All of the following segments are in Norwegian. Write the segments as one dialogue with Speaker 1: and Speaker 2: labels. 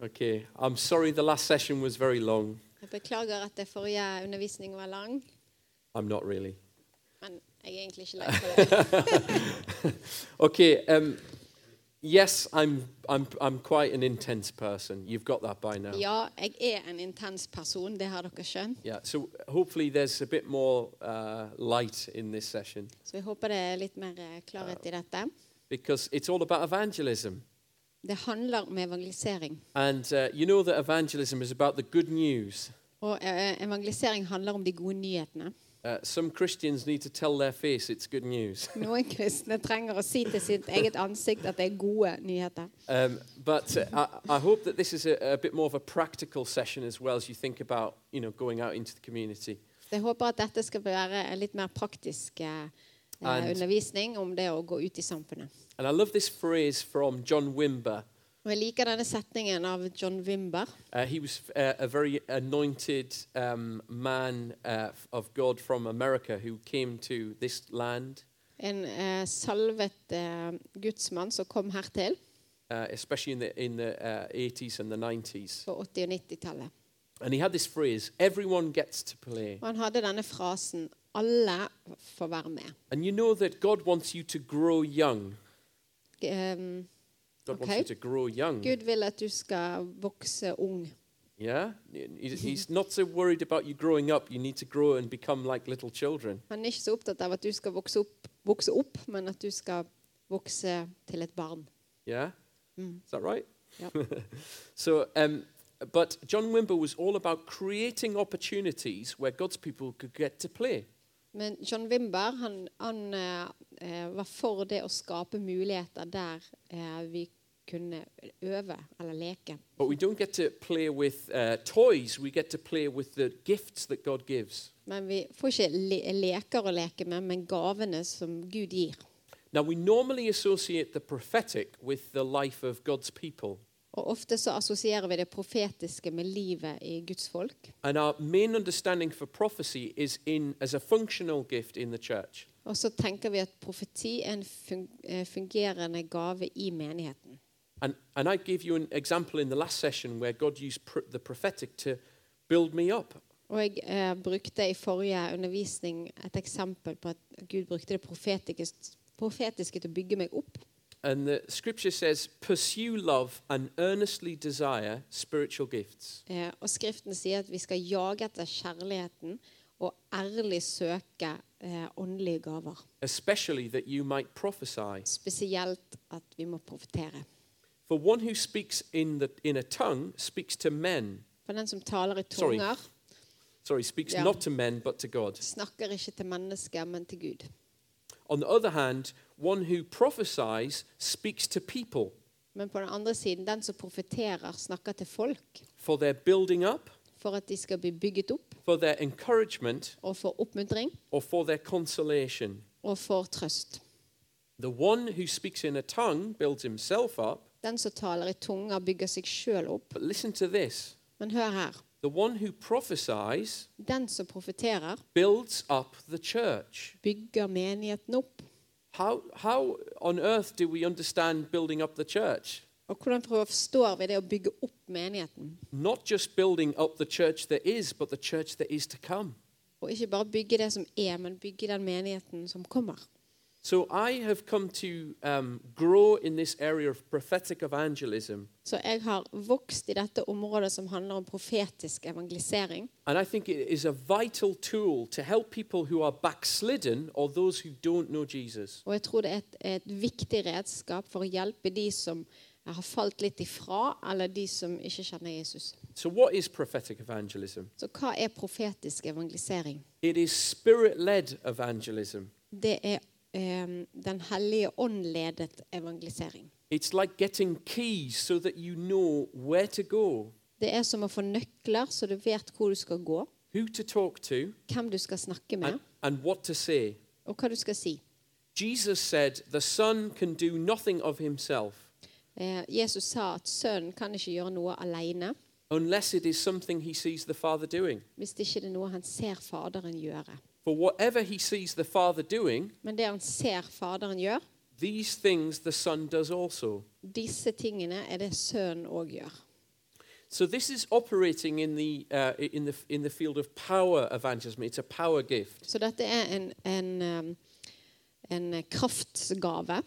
Speaker 1: Okay, I'm sorry the last session was very long.
Speaker 2: Jeg beklager at det forrige undervisning var lang,
Speaker 1: I'm not really.
Speaker 2: men jeg er egentlig ikke lei for det.
Speaker 1: Okay, um, yes, I'm, I'm, I'm quite an intense person. You've got that by now.
Speaker 2: Ja, jeg er en intens person, det har dere skjønt.
Speaker 1: Yeah, so hopefully there's a bit more uh, light in this session
Speaker 2: Så jeg håper det er litt mer eh, klarhet i dette.
Speaker 1: because it's all about evangelism.
Speaker 2: Det handler om evangelisering.
Speaker 1: And uh, you know that evangelism is about the good news.
Speaker 2: Og eh, evangelisering handler om de gode nyhetene.
Speaker 1: Uh, some Christians need to tell their face it's good news.
Speaker 2: Noen kristne trenger å si til sitt eget ansikt at det er gode nyheter.
Speaker 1: Um, but uh, I, I hope that this is a, a bit more of a practical session as well as you think about you know, going out into the community.
Speaker 2: Så jeg håper at dette skal være en litt mer praktisk eh,
Speaker 1: And-
Speaker 2: undervisning om det å gå ut i samfunnet.
Speaker 1: And I love this phrase from John Wimber.
Speaker 2: Og jeg liker denne setningen av John Wimber.
Speaker 1: Uh, he was uh, a very anointed um, man uh, of God from America who came to this land,
Speaker 2: En eh, salvet eh, gudsmann som kom hertil
Speaker 1: uh, especially in the, in the uh, 80s and the 90s.
Speaker 2: på 80- og 90-tallet.
Speaker 1: And he had this phrase everyone gets to play.
Speaker 2: Og han hadde denne frasen 'Alle får være med'.
Speaker 1: And you know that God wants you to grow young.
Speaker 2: Ehm,
Speaker 1: God
Speaker 2: Okay.
Speaker 1: wants you to grow young.
Speaker 2: Gud vil at du skal vokse ung.
Speaker 1: Yeah? He- He's not so worried about you growing up. You need to grow and become like little children.
Speaker 2: Han er ikke så opptatt av at du skal vokse opp, vokse opp men at du skal vokse til et barn.
Speaker 1: Yeah?
Speaker 2: Mm.
Speaker 1: Is that right?
Speaker 2: Yep.
Speaker 1: so, um, but John Wimber was all about creating opportunities where God's people could get to play.
Speaker 2: Men John Wimber han, han eh, eh, var for det å skape muligheter der eh, vi kunne øve eller leke.
Speaker 1: But we don't get to play with uh, toys, we get to play with the gifts that God gives.
Speaker 2: Men vi får ikke le leker å leke med, men gavene som Gud gir.
Speaker 1: Now, we normally associate the prophetic with the life of God's people.
Speaker 2: Og ofte så assosierer vi det profetiske med livet i Guds folk.
Speaker 1: And our main understanding for prophecy is in as a functional gift in the church.
Speaker 2: Og så tenker vi at profeti er en fun eh, fungerende gave i menigheten.
Speaker 1: And, and I gave you an example in the last session where God used pr- the prophetic to build me up.
Speaker 2: Og jeg eh, brukte i forrige undervisning et eksempel på at Gud brukte det profetiske, profetiske til å bygge meg opp.
Speaker 1: And the scripture says, pursue love and earnestly desire spiritual gifts.
Speaker 2: Eh, og Skriften sier at vi skal jage etter kjærligheten og ærlig søke eh, åndelige gaver.
Speaker 1: Especially that you might prophesy.
Speaker 2: Spesielt at vi må profetere.
Speaker 1: For one who speaks in, the, in a tongue speaks to men.
Speaker 2: For den som taler i
Speaker 1: Sorry.
Speaker 2: tunger,
Speaker 1: Sorry, speaks
Speaker 2: Yeah.
Speaker 1: not to men, but to God.
Speaker 2: snakker ikke til mennesker, men til Gud.
Speaker 1: On the other hand, one who prophesies speaks to people
Speaker 2: Men på den andre siden, den som profeterer, snakker til folk
Speaker 1: for their building up,
Speaker 2: for at de skal bli bygget opp,
Speaker 1: for their encouragement,
Speaker 2: og for oppmuntring
Speaker 1: or for their consolation.
Speaker 2: og for trøst.
Speaker 1: The one who speaks in a tongue builds himself up.
Speaker 2: Den som taler i tunger, bygger seg sjøl opp.
Speaker 1: But listen to this
Speaker 2: Men hør her.
Speaker 1: the one who prophesies
Speaker 2: Den som profeterer,
Speaker 1: builds up the church.
Speaker 2: bygger menigheten opp.
Speaker 1: How, how on earth do we understand building up the church?
Speaker 2: Og hvordan forstår vi det å bygge opp menigheten?
Speaker 1: Not just building up the church that is, but the church that is to come.
Speaker 2: Og ikke bare bygge det som er, men bygge den menigheten som kommer.
Speaker 1: So I have come to um, grow in this area of prophetic evangelism,
Speaker 2: Så jeg har vokst i dette området som handler om profetisk evangelisering.
Speaker 1: and I think it is a vital tool to help people who are backslidden or those who don't know Jesus.
Speaker 2: Og jeg tror det er et, et viktig redskap for å hjelpe de som har falt litt ifra, eller de som ikke kjenner Jesus.
Speaker 1: So what is prophetic evangelism?
Speaker 2: Så hva er profetisk evangelisering?
Speaker 1: It is spirit-led evangelism.
Speaker 2: Det er eh, Den hellige ånd-ledet evangelisering.
Speaker 1: It's like getting keys so that you know where to go,
Speaker 2: Det er som å få nøkler, så du vet hvor du skal gå,
Speaker 1: who to talk to,
Speaker 2: hvem du skal snakke med,
Speaker 1: and, and what to say.
Speaker 2: og hva du skal si.
Speaker 1: Jesus said, The Son can do nothing of himself
Speaker 2: Eh, Jesus sa at sønnen kan ikke gjøre noe alene
Speaker 1: unless it is something he sees the Father doing.
Speaker 2: hvis det ikke er noe han ser Faderen gjøre.
Speaker 1: For whatever he sees the Father doing,
Speaker 2: Men det han ser Faderen gjør,
Speaker 1: these things the Son does also.
Speaker 2: disse tingene er det sønnen òg gjør.
Speaker 1: So this is operating in the, uh, in, the, in the field of power evangelism. It's a power gift.
Speaker 2: Så dette er en, en, um, en kraftgave.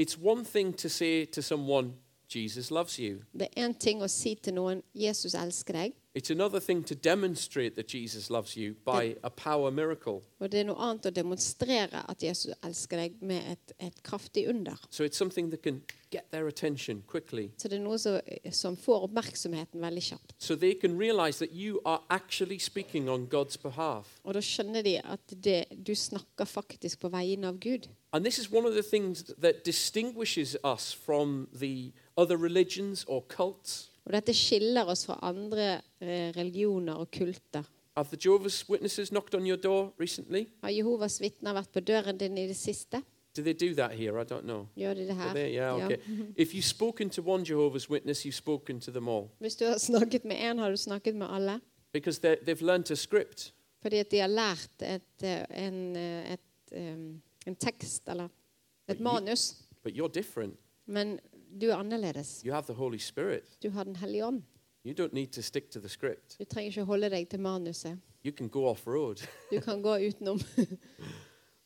Speaker 1: It's one thing to say to someone, Jesus loves you.
Speaker 2: Det er én ting å si til noen 'Jesus elsker deg',
Speaker 1: It's another thing to demonstrate that Jesus loves you by a power miracle.
Speaker 2: og det er noe annet å demonstrere at Jesus elsker deg med et, et kraftig under.
Speaker 1: So it's something that can get their attention quickly.
Speaker 2: Så det er noe som, som får oppmerksomheten veldig kjapt.
Speaker 1: So they can realize that you are actually speaking on God's behalf.
Speaker 2: Og da skjønner de at det, du snakker faktisk på vegne av Gud.
Speaker 1: And this is one of the things that distinguishes us from the other religions or cults.
Speaker 2: Og dette skiller oss fra andre eh, religioner og kulter.
Speaker 1: Have the Jehovah's Witnesses knocked on your door recently?
Speaker 2: Har Jehovas vitner vært på døren din i det siste?
Speaker 1: Do they do that here? I don't know.
Speaker 2: Gjør de det
Speaker 1: Do
Speaker 2: her?
Speaker 1: they? Yeah,
Speaker 2: Ja.
Speaker 1: okay. if you've spoken to one Jehovah's Witness, you've spoken to them all
Speaker 2: Hvis du har snakket med én, har du snakket med alle.
Speaker 1: because they're- they've learnt a script.
Speaker 2: Fordi at de har lært et, eh, en, eh, et, em, en tekst eller
Speaker 1: But
Speaker 2: et
Speaker 1: you-
Speaker 2: manus.
Speaker 1: But you're different.
Speaker 2: Men du er annerledes.
Speaker 1: You have the Holy Spirit.
Speaker 2: Du har Den hellige ånd.
Speaker 1: You don't need to stick to the script.
Speaker 2: Du trenger ikke holde deg til manuset.
Speaker 1: You can go off road.
Speaker 2: Du kan gå utenom.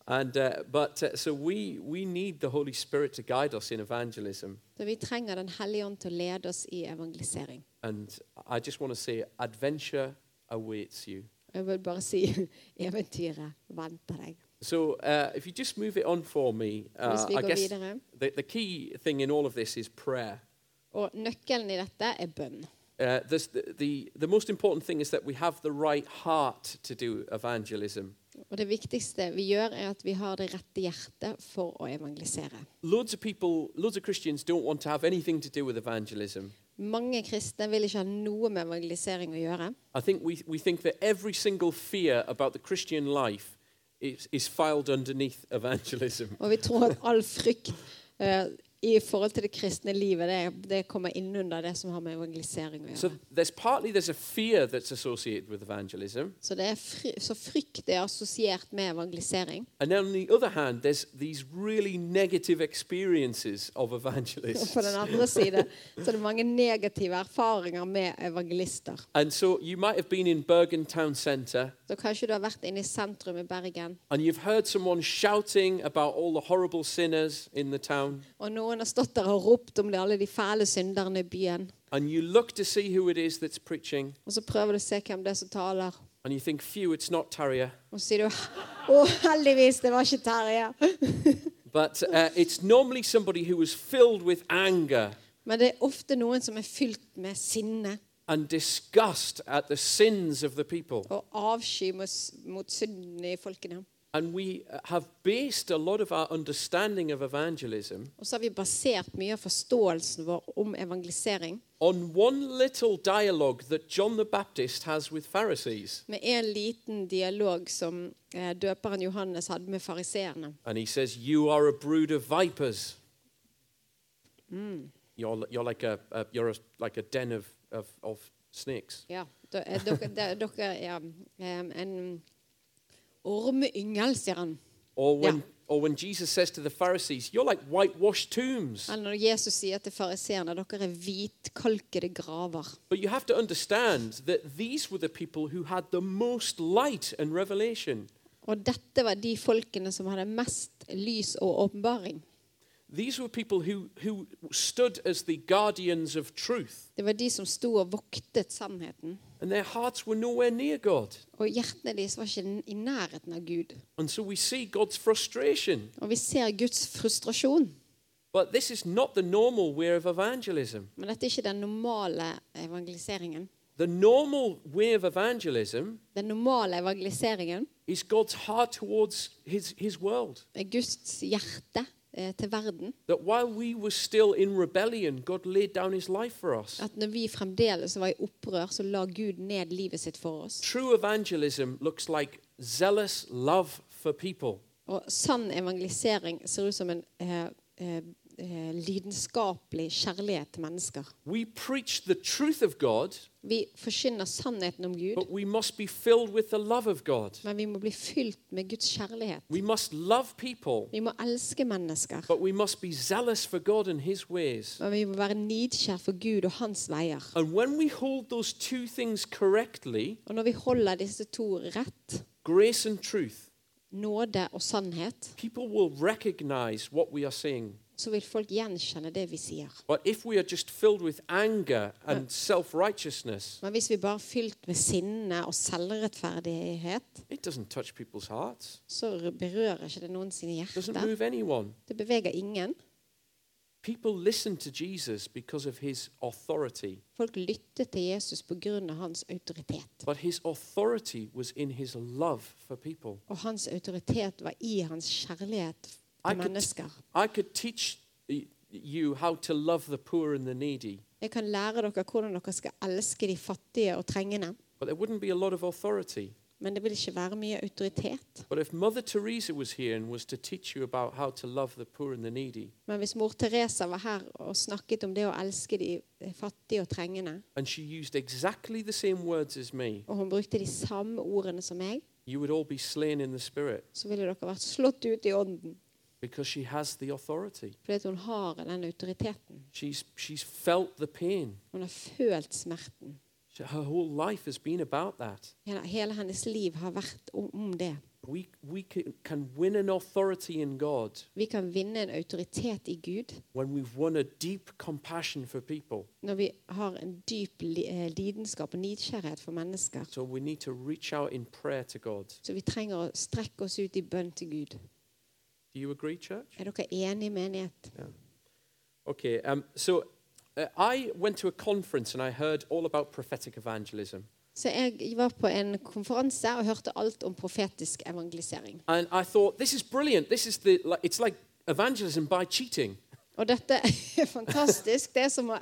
Speaker 1: And uh, but uh, so we we need the Holy Spirit to guide us in evangelism.
Speaker 2: Så vi trenger Den hellige ånd til å lede oss i evangelisering.
Speaker 1: And I just want to say, adventure awaits you.
Speaker 2: Jeg vil bare si eventyret venter deg.
Speaker 1: So uh, if you just move it on for me, uh,
Speaker 2: Hvis vi
Speaker 1: I
Speaker 2: går
Speaker 1: guess
Speaker 2: videre.
Speaker 1: the, the key thing in all of this is prayer.
Speaker 2: Og nøkkelen i dette er bønn.
Speaker 1: Uh, this, the, the, the most important thing is that we have the right heart to do evangelism.
Speaker 2: Og det viktigste vi gjør, er at vi har det rette hjertet for å evangelisere.
Speaker 1: Loads of people, loads of Christians don't want to have anything to do with evangelism.
Speaker 2: Mange kristne vil ikke ha noe med evangelisering å gjøre.
Speaker 1: I think we, we think that every single fear about the Christian life is, is filed underneath evangelism.
Speaker 2: Og vi tror at all frykt eh, i forhold til det kristne livet, det, det kommer innunder det som har med evangelisering å
Speaker 1: So
Speaker 2: gjøre.
Speaker 1: there's partly there's a fear that's associated with evangelism,
Speaker 2: Så, det er fry, så frykt er assosiert med evangelisering.
Speaker 1: and then on the other hand, there's these really negative experiences of
Speaker 2: Og
Speaker 1: evangelists.
Speaker 2: på den andre side så er det mange negative erfaringer med evangelister.
Speaker 1: And so you might have been in Bergen town centre
Speaker 2: Så kanskje du har vært inne i sentrum i Bergen,
Speaker 1: and you've heard someone shouting about all the horrible sinners in the town,
Speaker 2: og noen har stått der og ropt om det, alle de fæle synderne i byen.
Speaker 1: and you look to see who it is that's preaching,
Speaker 2: Og så prøver du å se hvem det er som taler.
Speaker 1: and you think, phew, it's not Tarrier.
Speaker 2: Og så sier du Å, heldigvis, det var ikke Terje.
Speaker 1: But uh, it's normally somebody who is filled with anger
Speaker 2: Men det er ofte noen som er fylt med sinne
Speaker 1: and disgust at the sins of the people.
Speaker 2: og avsky mot, mot synden i folkene.
Speaker 1: And we uh, have based a lot of our understanding of evangelism
Speaker 2: Og så har vi basert mye av forståelsen vår om evangelisering
Speaker 1: on one little dialogue that John the Baptist has with Pharisees.
Speaker 2: med en liten dialog som eh, døperen Johannes hadde med fariseerne.
Speaker 1: And he says, You are a brood of vipers. You're, li- you're, like a, a, you're a, like a den of, of, of snakes.
Speaker 2: Ja, da- eh, dere, de- dere er em, en ormeyngel, sier han.
Speaker 1: Or when,
Speaker 2: Yeah.
Speaker 1: or when Jesus says to the Pharisees, You're like whitewashed tombs.
Speaker 2: Eller når Jesus sier til fariseerne dere er hvitkalkede graver.
Speaker 1: But you have to understand that these were the people who had the most light and revelation.
Speaker 2: Og dette var de folkene som hadde mest lys og åpenbaring.
Speaker 1: These were people who, who stood as the guardians of truth,
Speaker 2: Det var de som sto og voktet sannheten.
Speaker 1: and their hearts were nowhere near God.
Speaker 2: Og hjertene deres var ikke i nærheten av Gud.
Speaker 1: And so we see God's frustration.
Speaker 2: Og vi ser Guds frustrasjon.
Speaker 1: But this is not the normal way of evangelism.
Speaker 2: Men dette er ikke den normale evangeliseringen.
Speaker 1: The normal way of evangelism
Speaker 2: Den normale evangeliseringen
Speaker 1: is God's heart towards his, his world.
Speaker 2: er Guds hjerte eh, til verden.
Speaker 1: That while we were still in rebellion, God laid down his life for us.
Speaker 2: At når vi fremdeles var i opprør, så la Gud ned livet sitt for oss.
Speaker 1: True evangelism looks like zealous love for people.
Speaker 2: Og sann evangelisering ser ut som en eh, eh, eh, lidenskapelig kjærlighet til mennesker.
Speaker 1: We preach the truth of God,
Speaker 2: Vi forkynner sannheten om Gud,
Speaker 1: but we must be filled with the love of God.
Speaker 2: men vi må bli fylt med Guds kjærlighet.
Speaker 1: We must love people,
Speaker 2: Vi må elske mennesker,
Speaker 1: but we must be zealous for God and His ways.
Speaker 2: men vi må være nidkjær for Gud og hans veier.
Speaker 1: And when we hold those two things correctly,
Speaker 2: Og når vi holder disse to rett,
Speaker 1: grace and truth,
Speaker 2: nåde og sannhet,
Speaker 1: people will recognize what we are saying.
Speaker 2: så vil folk gjenkjenne det vi sier.
Speaker 1: But if we are just filled with anger and self righteousness,
Speaker 2: Men hvis vi bare er fylt med sinne og selvrettferdighet,
Speaker 1: it doesn't touch people's hearts,
Speaker 2: så berører ikke det noen sine
Speaker 1: doesn't
Speaker 2: hjerter.
Speaker 1: move anyone.
Speaker 2: Det beveger ingen.
Speaker 1: People listen to Jesus because of his authority,
Speaker 2: Folk lyttet til Jesus pga. hans autoritet.
Speaker 1: but his authority was in his love for people.
Speaker 2: Og hans autoritet var i hans kjærlighet
Speaker 1: I
Speaker 2: til
Speaker 1: could-
Speaker 2: mennesker.
Speaker 1: I could teach y- you how to love the poor and the needy,
Speaker 2: Jeg kan lære dere hvordan dere skal elske de fattige og trengende,
Speaker 1: but there wouldn't be a lot of authority.
Speaker 2: men det vil ikke være mye autoritet.
Speaker 1: But if Mother Teresa was here and was to teach you about how to love the poor and the needy,
Speaker 2: Men hvis mor Teresa var her og snakket om det å elske de fattige og trengende,
Speaker 1: and she used exactly the same words as me,
Speaker 2: og hun brukte de samme ordene som meg,
Speaker 1: you would all be slain in the spirit
Speaker 2: så ville dere vært slått ut i ånden.
Speaker 1: because she has the authority.
Speaker 2: Fordi at hun har den autoriteten.
Speaker 1: She's, she's felt the pain.
Speaker 2: Hun har følt smerten.
Speaker 1: She- Her whole life has been about that.
Speaker 2: Hele, hele hennes liv har vært om, om det.
Speaker 1: We, we can, can win an authority in God
Speaker 2: Vi kan vinne en autoritet i Gud
Speaker 1: when we've won a deep compassion for people.
Speaker 2: når vi har en dyp li- eh, lidenskap og nidkjærhet for mennesker.
Speaker 1: So we need to reach out in prayer to God.
Speaker 2: Så vi trenger å strekke oss ut i bønn til Gud.
Speaker 1: Do you agree, church?
Speaker 2: Er dere enige, menighet?
Speaker 1: Okay, um, so uh, I went to a conference and I heard all about prophetic evangelism.
Speaker 2: Så jeg var på en konferanse og hørte alt om profetisk evangelisering.
Speaker 1: And I thought, this is brilliant. This is the, like, it's like evangelism by cheating.
Speaker 2: Og dette er fantastisk. Det er som å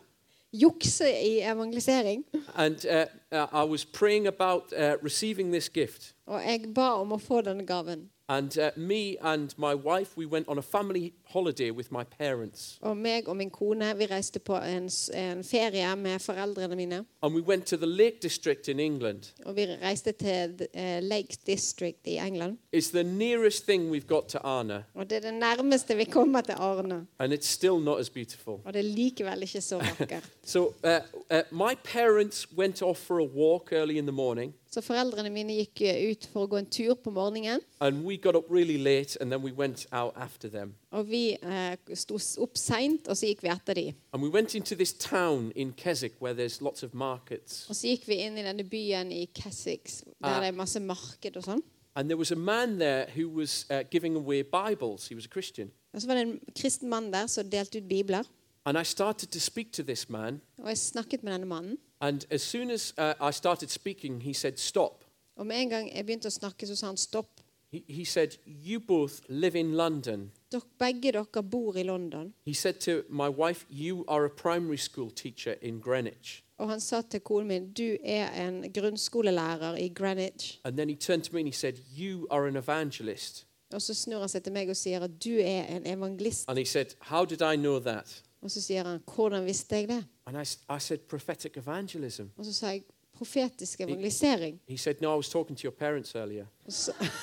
Speaker 2: jukse i evangelisering.
Speaker 1: And uh, uh, I was praying about uh, receiving this gift.
Speaker 2: Og jeg ba om å få denne gaven.
Speaker 1: And uh, me and my wife, we went on a family holiday with my parents.
Speaker 2: Og meg og min kone vi reiste på en, s- en ferie med foreldrene mine.
Speaker 1: And we went to the Lake District in England.
Speaker 2: Og vi reiste til d- eh, Lake District i England.
Speaker 1: It's the nearest thing we've got to Arna,
Speaker 2: Og det er det nærmeste vi kommer til Arne.
Speaker 1: and it's still not as beautiful.
Speaker 2: Og det er likevel ikke så vakkert.
Speaker 1: So uh, uh, my parents went off for a walk early in the morning,
Speaker 2: Så foreldrene mine gikk eh, ut for å gå en tur på morgenen.
Speaker 1: and we got up really late, and then we went out after them.
Speaker 2: Og vi eh, sto s- opp seint, og så gikk vi etter dem.
Speaker 1: And we went into this town in Keswick where there's lots of markets.
Speaker 2: Og så gikk vi inn i denne byen i Kessex, der
Speaker 1: Ah.
Speaker 2: det er masse marked og sånn.
Speaker 1: And there was a man there who was uh, giving away Bibles. He was a Christian.
Speaker 2: Og så var det en kristen mann der som delte ut bibler.
Speaker 1: And I started to speak to this man.
Speaker 2: Og jeg snakket med denne mannen.
Speaker 1: And as soon as uh, I started speaking, he said, Stop.
Speaker 2: Og med en gang jeg begynte å snakke, så sa han stopp.
Speaker 1: He, he said, You both live in London.
Speaker 2: Dere, begge dere bor i London.
Speaker 1: He said to my wife, You are a primary school teacher in Greenwich.
Speaker 2: Og han sa til konen min du er en grunnskolelærer i Greenwich.
Speaker 1: And then he turned to me and he said, You are an evangelist.
Speaker 2: Og så snur han seg til meg og sier at du er en evangelist.
Speaker 1: And he said, How did I know that?
Speaker 2: Og så sier han hvordan visste jeg det?
Speaker 1: And I, s- I said, Prophetic evangelism.
Speaker 2: Og så sa jeg profetisk evangelisering.
Speaker 1: He said, No, I was talking to your parents earlier.
Speaker 2: Og så,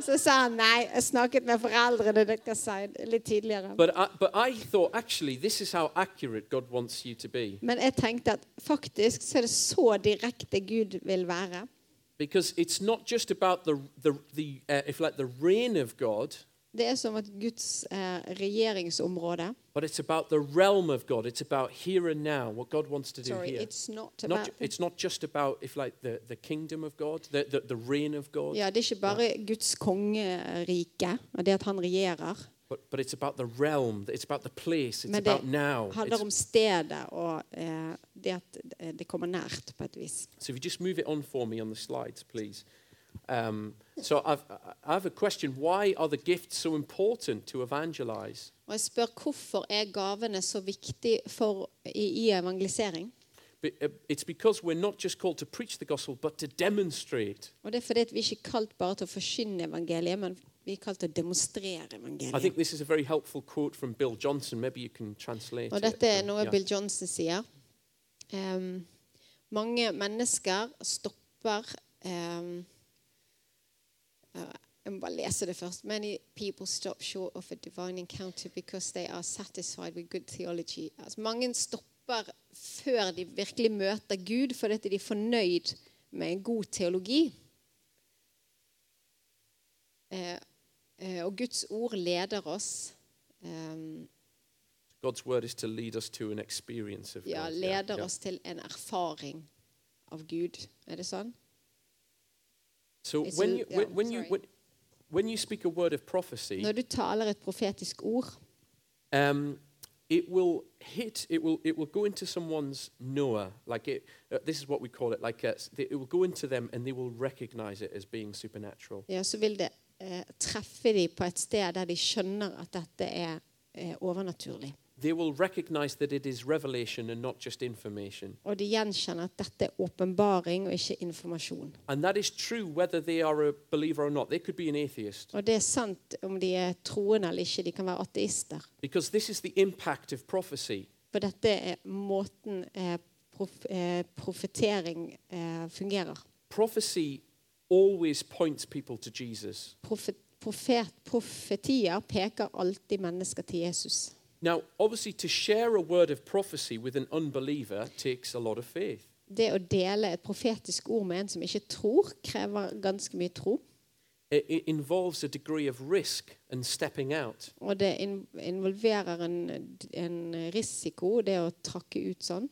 Speaker 2: så sa han nei, jeg snakket med foreldrene deres sein- litt tidligere.
Speaker 1: But I, but I thought, actually, this is how accurate God wants you to be.
Speaker 2: Men jeg tenkte at faktisk så er det så direkte Gud vil være.
Speaker 1: Because it's not just about the, the, the uh, if like the reign of God,
Speaker 2: Det er som at Guds eh, regjeringsområde
Speaker 1: but it's about the realm of God. It's about here and now, what God wants to do
Speaker 2: Sorry,
Speaker 1: here.
Speaker 2: it's not
Speaker 1: Not,
Speaker 2: about
Speaker 1: ju- it's not just about if like the, the kingdom of God, the, the, the reign of God,
Speaker 2: Ja, det er ikke bare Guds kongerike og det at han regjerer.
Speaker 1: but, but it's about the realm, it's about the place, it's
Speaker 2: Men det
Speaker 1: about now.
Speaker 2: handler
Speaker 1: It's-
Speaker 2: om stedet og eh, det at eh, det kommer nært på et vis.
Speaker 1: so if you just move it on for me on the slides, please. Um, so I've, I- I have a question. Why are the gifts so important to evangelize?
Speaker 2: Og jeg spør hvorfor er gavene så viktig for, i, i evangelisering?
Speaker 1: Be- uh, It's because we're not just called to preach the gospel, but to demonstrate.
Speaker 2: Og det er fordi at vi ikke er kalt bare til å forkynne evangeliet, men Vi er kalt til å demonstrere
Speaker 1: I think
Speaker 2: evangeliet.
Speaker 1: this is a very helpful quote from Bill Johnson. Maybe you can translate
Speaker 2: Og
Speaker 1: it.
Speaker 2: dette er noe
Speaker 1: Yeah.
Speaker 2: Bill Johnson sier. Ehm, mange mennesker stopper ehm, eh, Jeg må bare lese det først. Many people stop short of a divine encounter because they are satisfied with good theology. Altså, mange stopper før de virkelig møter Gud, fordi at de er fornøyd med en god teologi. Eh, eh, og Guds ord leder oss. ehm,
Speaker 1: God's word is to lead us to an experience of
Speaker 2: ja,
Speaker 1: God.
Speaker 2: leder
Speaker 1: yeah.
Speaker 2: oss til en erfaring av Gud. Er det sånn?
Speaker 1: So
Speaker 2: It's
Speaker 1: when
Speaker 2: a-
Speaker 1: you,
Speaker 2: yeah,
Speaker 1: when, when you
Speaker 2: sorry.
Speaker 1: when, when you speak a word of prophecy,
Speaker 2: Når du taler et profetisk ord,
Speaker 1: um, it will hit. It will it will go into someone's Noah. Like it. Uh, this is what we call it. Like uh, s- it will go into them, and they will recognize it as being supernatural.
Speaker 2: ja, så vil det eh, treffe dem på et sted der de skjønner at dette er eh, overnaturlig.
Speaker 1: They will recognize that it is revelation and not just information.
Speaker 2: Og de gjenkjenner at dette er åpenbaring og ikke informasjon.
Speaker 1: And that is true whether they are a believer or not. They could be an atheist
Speaker 2: Og det er sant om de er troende eller ikke. De kan være ateister.
Speaker 1: because this is the impact of prophecy.
Speaker 2: For dette er måten eh, prof, eh, profetering eh, fungerer.
Speaker 1: Prophecy always points people to Jesus.
Speaker 2: Profet, profet, profetier peker alltid mennesker til Jesus.
Speaker 1: Now, obviously, to share a word of prophecy with an unbeliever takes a lot of faith.
Speaker 2: det å dele et profetisk ord med en som ikke tror, krever ganske mye tro.
Speaker 1: It, it involves a degree of risk and stepping out.
Speaker 2: Og det in- involverer en, en risiko, det å trakke ut sånn.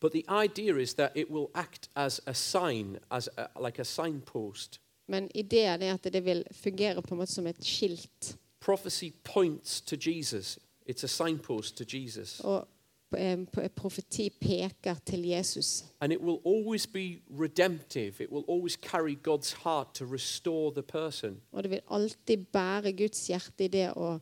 Speaker 1: But the idea is that it will act as a sign, as a, like a signpost.
Speaker 2: Men ideen er at det vil fungere på en måte som et skilt.
Speaker 1: Prophecy points to Jesus. It's a signpost to Jesus.
Speaker 2: Og eh, p- profeti peker til Jesus.
Speaker 1: And it will always be redemptive. It will always carry God's heart to restore the person.
Speaker 2: Og det vil alltid bære Guds hjerte i det å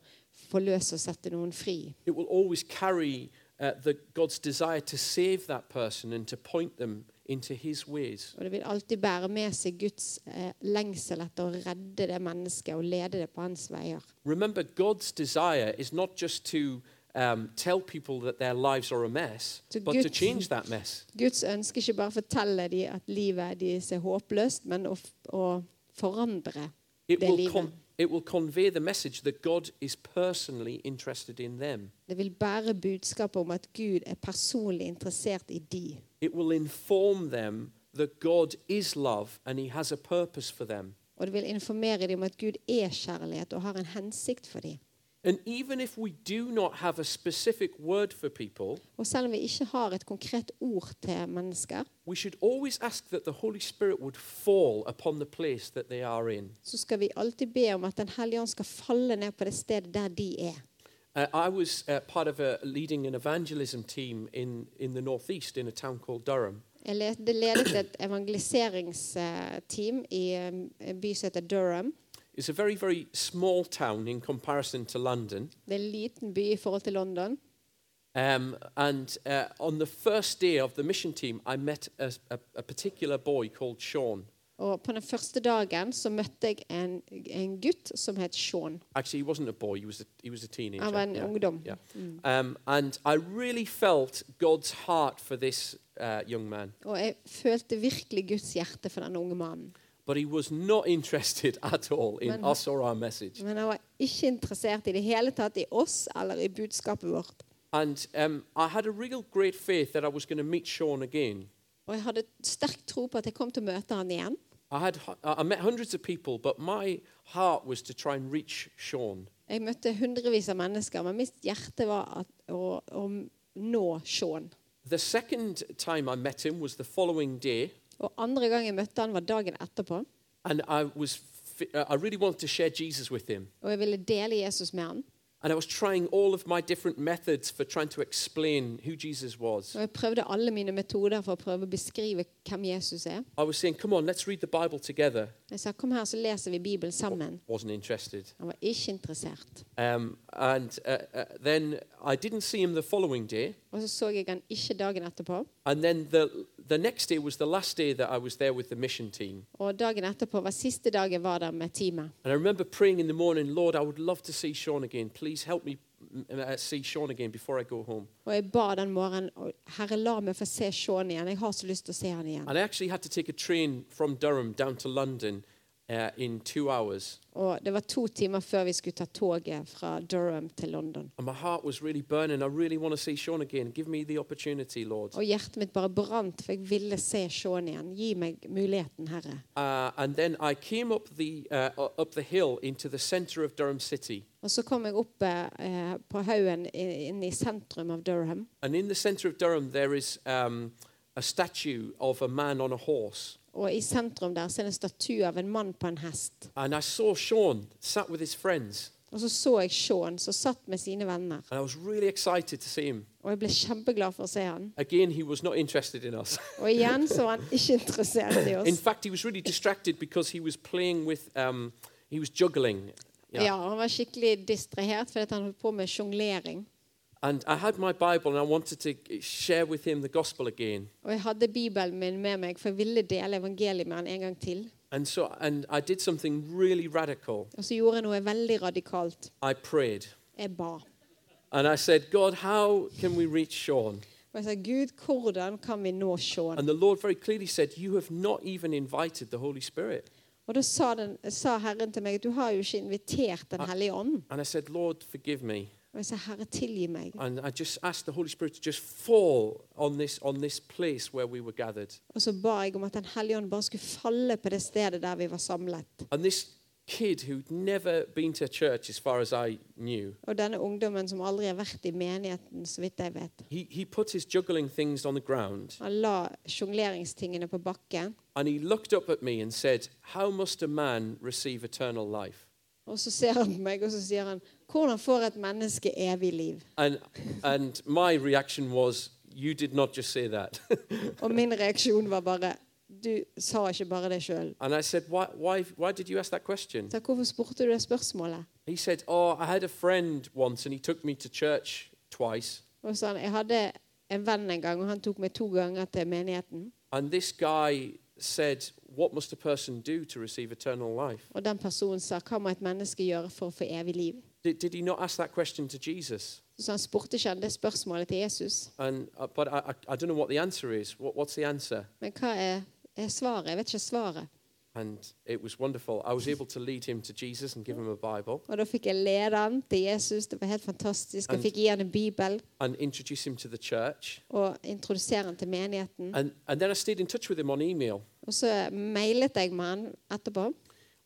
Speaker 2: forløse og sette noen fri.
Speaker 1: It will always carry uh, the, God's desire to save that person and to point them into his ways.
Speaker 2: Og det vil alltid bære med seg Guds eh, lengsel etter å redde det mennesket og lede det på hans veier.
Speaker 1: Remember, God's desire is not just to um, tell people that their lives are a mess,
Speaker 2: To
Speaker 1: but
Speaker 2: get-
Speaker 1: to change that mess.
Speaker 2: Guds ønske ikke bare fortelle dem at livet deres er håpløst, men å, f- å forandre
Speaker 1: It
Speaker 2: det
Speaker 1: will,
Speaker 2: livet.
Speaker 1: con- it will convey the message that God is personally interested in them.
Speaker 2: Det vil bære budskapet om at Gud er personlig interessert i de.
Speaker 1: It will inform them that God is love and He has a purpose for them.
Speaker 2: Og det vil informere dem om at Gud er kjærlighet og har en hensikt for dem.
Speaker 1: And even if we do not have a specific word for people,
Speaker 2: Og selv om vi ikke har et konkret ord til mennesker,
Speaker 1: we should always ask that the Holy Spirit would fall upon the place that they are in.
Speaker 2: så skal vi alltid be om at Den hellige ånd skal falle ned på det stedet der de er.
Speaker 1: Uh, I was uh, part of a, leading an evangelism team in, in the northeast in a town called Durham.
Speaker 2: Jeg le- det ledet et evangeliseringsteam i eh, en by som heter Durham.
Speaker 1: It's a very, very small town in comparison to London.
Speaker 2: Det er en liten by i forhold til London.
Speaker 1: Um, and uh, on the first day of the mission team, I met a, a, a particular boy called Sean.
Speaker 2: Og på den første dagen så møtte jeg en, en gutt som het Sean.
Speaker 1: Actually, he wasn't a boy, he was a, he was a teenager.
Speaker 2: Han var en
Speaker 1: yeah.
Speaker 2: ungdom. Mm.
Speaker 1: yeah. Um, and I really felt God's heart for this uh, young man,
Speaker 2: Og jeg følte virkelig Guds hjerte for denne unge mannen.
Speaker 1: but he was not interested at all in
Speaker 2: Men-
Speaker 1: us or our message.
Speaker 2: Men han var ikke interessert i det hele tatt i oss eller i budskapet vårt.
Speaker 1: And um, I had a real great faith that I was going to meet Sean again.
Speaker 2: Og jeg hadde sterk tro på at jeg kom til å møte han igjen.
Speaker 1: I had hu- I I met hundreds of people, but my heart was to try and reach Sean.
Speaker 2: Jeg møtte hundrevis av mennesker, men mitt hjerte var at, å, å nå Sean.
Speaker 1: The second time I met him was the following day,
Speaker 2: Og andre gang jeg møtte han var dagen etterpå.
Speaker 1: and I was fi- uh, I really wanted to share Jesus with him.
Speaker 2: Og jeg ville dele Jesus med han.
Speaker 1: And I was trying all of my different methods for trying to explain who Jesus was.
Speaker 2: Og jeg prøvde alle mine metoder for å prøve å beskrive hvem Jesus er.
Speaker 1: I was saying, come on, let's read the Bible together.
Speaker 2: Jeg sa kom her, så leser vi Bibelen sammen.
Speaker 1: Wasn't interested.
Speaker 2: Han var ikke interessert.
Speaker 1: Um, and uh, uh, then I didn't see him the following day.
Speaker 2: Og så så jeg han ikke dagen etterpå.
Speaker 1: And then the, the next day was the last day that I was there with the mission team.
Speaker 2: Og dagen etterpå var siste dag jeg var der med teamet.
Speaker 1: And I remember praying in the morning, Lord, I would love to see Sean again. Please help me mm, uh, see Sean again before I go home.
Speaker 2: Og jeg ba den morgenen og Herre, la meg få se Sean igjen. Jeg har så lyst til å se han igjen.
Speaker 1: And I actually had to take a train from Durham down to London uh, in two hours.
Speaker 2: Og det var to timer før vi skulle ta toget fra Durham til London.
Speaker 1: And my heart was really burning. I really want to see Sean again. Give me the opportunity, Lord.
Speaker 2: Og hjertet mitt bare brant, for jeg ville se Sean igjen. Gi meg muligheten, Herre.
Speaker 1: Uh, and then I came up the, uh, u- up the hill into the center of Durham City.
Speaker 2: Og så kom jeg opp eh, på haugen i- inne i sentrum av Durham.
Speaker 1: And in the center of Durham, there is um, a statue of a man on a horse.
Speaker 2: Og i sentrum der så er det en statue av en mann på en hest.
Speaker 1: And I saw Sean sat with his friends.
Speaker 2: Og så så jeg Sean, som satt med sine venner.
Speaker 1: And I was really excited to see him.
Speaker 2: Og jeg ble kjempeglad for å se han.
Speaker 1: Again, he was not interested in us.
Speaker 2: Og igjen så var han ikke interessert i
Speaker 1: in
Speaker 2: oss.
Speaker 1: fact, he was really distracted because he was playing with, um, he was juggling.
Speaker 2: Ja, Han var skikkelig distrahert fordi at han holdt på med sjonglering.
Speaker 1: And I had my Bible and I wanted to share with him the gospel again.
Speaker 2: Og jeg hadde Bibelen min med meg, for jeg ville dele evangeliet med han en gang til.
Speaker 1: And so, and I did something really radical.
Speaker 2: Og så gjorde jeg noe veldig radikalt.
Speaker 1: I prayed.
Speaker 2: Jeg ba.
Speaker 1: And I said, God, how can we reach Sean?
Speaker 2: Og jeg sa, Gud, hvordan kan vi nå Sean?
Speaker 1: And the Lord very clearly said, You have not even invited the Holy Spirit.
Speaker 2: Og da sa, den, sa Herren til meg, du har jo ikke invitert Den hellige ånd.
Speaker 1: And I said, Lord, forgive me.
Speaker 2: Og jeg sa, Herre, tilgi meg.
Speaker 1: And I just asked the Holy Spirit to just fall on this, on this place where we were gathered.
Speaker 2: Og så ba jeg om at Den hellige ånd bare skulle falle på det stedet der vi var samlet.
Speaker 1: And this kid who'd never been to church, as far as I knew,
Speaker 2: Og denne ungdommen som aldri har vært i menigheten, så vidt jeg vet.
Speaker 1: he, he put his juggling things on the ground
Speaker 2: Han la sjongleringstingene på bakken,
Speaker 1: and he looked up at me and said, How must a man receive eternal life?
Speaker 2: og så ser han på meg, og så sier han, hvordan får et menneske evig liv?
Speaker 1: And, and my reaction was, You did not just say that.
Speaker 2: Og min reaksjon var bare Du sa ikke bare det sjøl.
Speaker 1: and I said, why, why, why did you ask that question?
Speaker 2: Hvorfor spurte du det spørsmålet?
Speaker 1: He said, Oh, I had a friend once and he took me to church twice.
Speaker 2: Og så sa han, Jeg hadde en venn en gang, og han tok meg to ganger til menigheten.
Speaker 1: And this guy said, What must a person do to receive eternal life?
Speaker 2: Og den personen sa, Hva må et menneske gjøre for å få evig liv?
Speaker 1: Did, did he not ask that question to Jesus?
Speaker 2: Så han spurte ikke han det spørsmålet til Jesus.
Speaker 1: And, uh, but I, I, I don't know what the answer is. What, what's the answer?
Speaker 2: Men hva er, er svaret? Jeg vet ikke svaret.
Speaker 1: And it was wonderful. I was able to lead him to Jesus and give him a Bible
Speaker 2: Og da fikk jeg lede han til Jesus. Det var helt fantastisk. Jeg fikk gi han en bibel
Speaker 1: and introduce him to the church.
Speaker 2: og introdusere han til menigheten.
Speaker 1: And, and then I stayed in touch with him on email.
Speaker 2: Og så mailet jeg med han etterpå.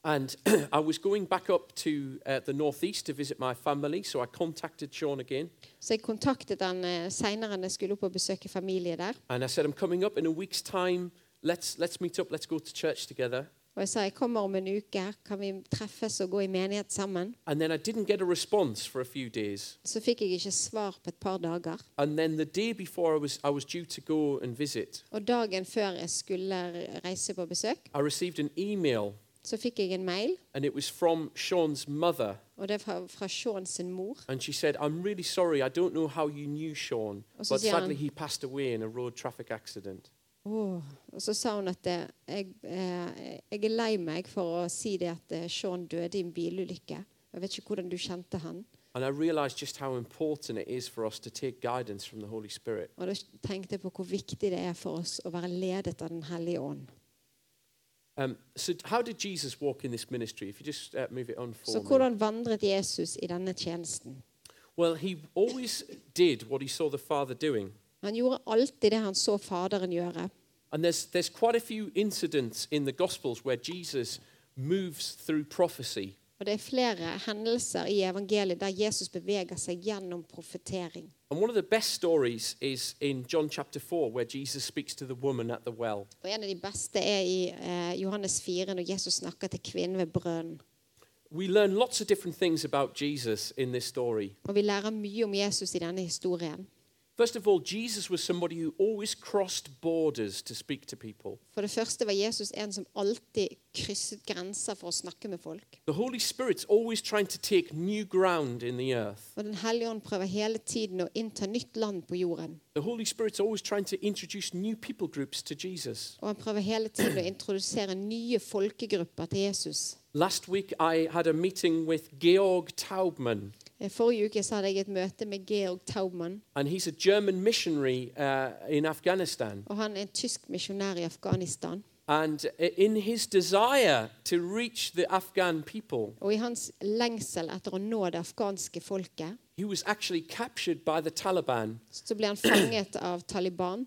Speaker 1: And I was going back up to uh, the northeast to visit my family, so I contacted Sean again.
Speaker 2: Så jeg kontaktet han eh, senere når jeg skulle opp og besøke familie der.
Speaker 1: And I said, I'm coming up in a week's time. Let's, let's meet up. Let's go to church together.
Speaker 2: Og jeg sa jeg kommer om en uke, kan vi treffes og gå i menighet sammen?
Speaker 1: And then I didn't get a response for a few days.
Speaker 2: Så fikk jeg ikke svar på et par dager.
Speaker 1: And then the day before I was, I was due to go and visit,
Speaker 2: Og dagen før jeg skulle reise på besøk,
Speaker 1: I received an email,
Speaker 2: så fikk jeg en mail.
Speaker 1: and it was from Sean's mother.
Speaker 2: Og det er fra, fra Sean sin mor.
Speaker 1: And she said, I'm really sorry. I don't know how you knew Sean,
Speaker 2: Og så
Speaker 1: but
Speaker 2: sier han-
Speaker 1: sadly, he passed away in a road traffic accident.
Speaker 2: Og så sa hun at eh, jeg, eh, jeg er lei meg for å si det at eh, Sean døde i en bilulykke. Jeg vet ikke hvordan du kjente han.
Speaker 1: And I realized just how important it is for us to take guidance from the Holy Spirit.
Speaker 2: Og da tenkte jeg på hvor viktig det er for oss å være ledet av Den hellige ånd.
Speaker 1: Um, so, how did Jesus walk in this ministry? If you just uh, move it on for
Speaker 2: Så
Speaker 1: me.
Speaker 2: hvordan vandret Jesus i denne tjenesten?
Speaker 1: Well, he always did what he saw the Father doing.
Speaker 2: Han gjorde alltid det han så Faderen gjøre.
Speaker 1: And there's, there's quite a few incidents in the Gospels where Jesus moves through prophecy.
Speaker 2: Og det er flere hendelser i evangeliet der Jesus beveger seg gjennom profetering.
Speaker 1: And one of the best stories is in John chapter 4, where Jesus speaks to the woman at the well.
Speaker 2: Og En av de beste er i eh, Johannes 4, når Jesus snakker til kvinnen ved brønnen.
Speaker 1: we learn lots of different things about Jesus in this story.
Speaker 2: Og vi lærer mye om Jesus i denne historien.
Speaker 1: First of all, Jesus was somebody who always crossed borders to speak to people.
Speaker 2: For det første var Jesus en som alltid krysset grenser for å snakke med folk.
Speaker 1: The Holy Spirit's always trying to take new ground in the earth.
Speaker 2: Og Den hellige ånd prøver hele tiden å innta nytt land på jorden.
Speaker 1: The Holy Spirit's always trying to introduce new people groups to Jesus.
Speaker 2: Og han prøver hele tiden å introdusere nye folkegrupper til Jesus.
Speaker 1: Last week, I had a meeting with Georg Taubman,
Speaker 2: Eh, Forrige uke så hadde jeg et møte med Georg Taubmann.
Speaker 1: and he's a German missionary uh, in Afghanistan.
Speaker 2: og Han er en tysk misjonær i Afghanistan.
Speaker 1: And i- in his desire to reach the Afghan people,
Speaker 2: Og I hans lengsel etter å nå det afghanske folket
Speaker 1: he was actually captured by the Taliban.
Speaker 2: så ble han fanget av Taliban.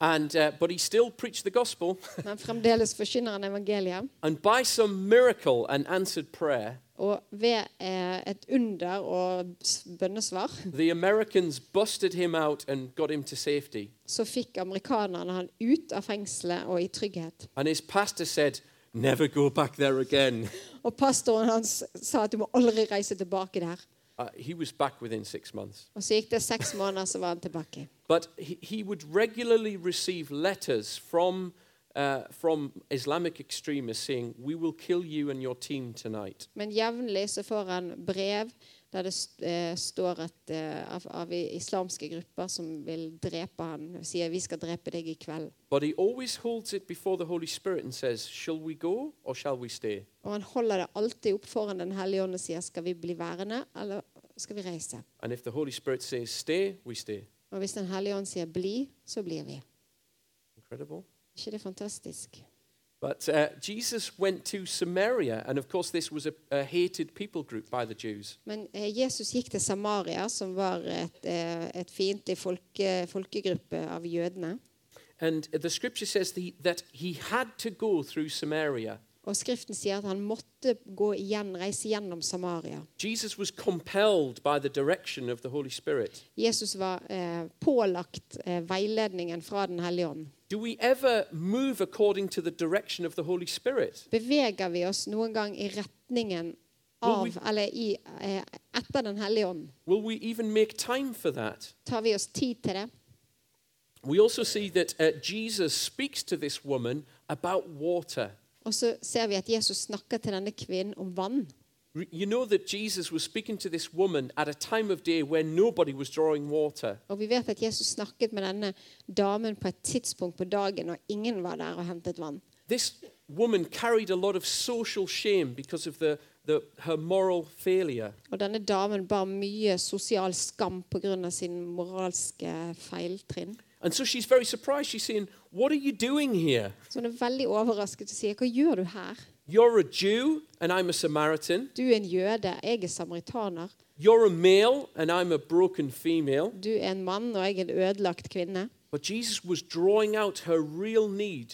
Speaker 1: And, uh, but he still preached the gospel.
Speaker 2: Men fremdeles forkynner han evangeliet.
Speaker 1: And by some miracle and answered prayer,
Speaker 2: Og ved eh, et under og s- bønnesvar
Speaker 1: the Americans busted him out and got him to safety.
Speaker 2: så fikk amerikanerne han ut av fengselet og i trygghet.
Speaker 1: And his pastor said, Never go back there again.
Speaker 2: Og pastoren hans sa at du må aldri reise tilbake der.
Speaker 1: Uh, he was back within six months.
Speaker 2: Og så gikk det seks måneder, så var han tilbake.
Speaker 1: But he, he would regularly receive letters from, uh, from Islamic extremists saying, We will kill you and your team tonight.
Speaker 2: Men jevnlig så får han brev der det st- eh, står at, eh, av, av i- islamske grupper som vil drepe han, sier 'vi skal drepe deg i kveld'.
Speaker 1: But he always holds it before the Holy Spirit and says, Shall we go or shall we stay?
Speaker 2: Og han holder det alltid opp foran Den hellige ånd og sier 'skal vi bli værende, eller skal vi reise'?
Speaker 1: And if the Holy Spirit says stay, we stay.
Speaker 2: Og hvis Den hellige ånd sier 'bli', så blir vi.
Speaker 1: Incredible.
Speaker 2: ikke det fantastisk?
Speaker 1: But uh, Jesus went to Samaria, and of course, this was a, a hated people group by the Jews.
Speaker 2: Men eh, Jesus gikk til Samaria, som var et, eh, et fiendtlig folke, folkegruppe av jødene.
Speaker 1: And the scripture says the, that he had to go through Samaria.
Speaker 2: Og Skriften sier at han måtte gå igjen, reise gjennom Samaria.
Speaker 1: Jesus was compelled by the direction of the Holy Spirit.
Speaker 2: Jesus var eh, pålagt eh, veiledningen fra Den hellige ånd.
Speaker 1: Do we ever move according to the direction of the Holy Spirit?
Speaker 2: Beveger vi oss noen gang i retningen av,
Speaker 1: Will we-
Speaker 2: eller i, eh, etter Den hellige ånd?
Speaker 1: Will we even make time for that?
Speaker 2: Tar vi oss tid til det?
Speaker 1: We also see that uh, Jesus speaks to this woman about water.
Speaker 2: Og så ser vi at Jesus snakker til denne kvinnen om vann.
Speaker 1: Re- You know that Jesus was speaking to this woman at a time of day where nobody was drawing water.
Speaker 2: Og vi vet at Jesus snakket med denne damen på et tidspunkt på dagen, og ingen var der og hentet vann.
Speaker 1: This woman carried a lot of social shame because of the, the, her moral failure.
Speaker 2: Og denne damen bar mye sosial skam pga. sin moralske feiltrinn.
Speaker 1: And so she's very surprised. She's saying, What are you doing here?
Speaker 2: Så hun er veldig overrasket og sier, 'Hva gjør du her?'
Speaker 1: You're a Jew, and I'm a Samaritan.
Speaker 2: Du er en jøde, jeg er samaritaner.
Speaker 1: You're a male, and I'm a broken female.
Speaker 2: Du er en mann, og jeg er en ødelagt kvinne.
Speaker 1: But Jesus was drawing out her real need,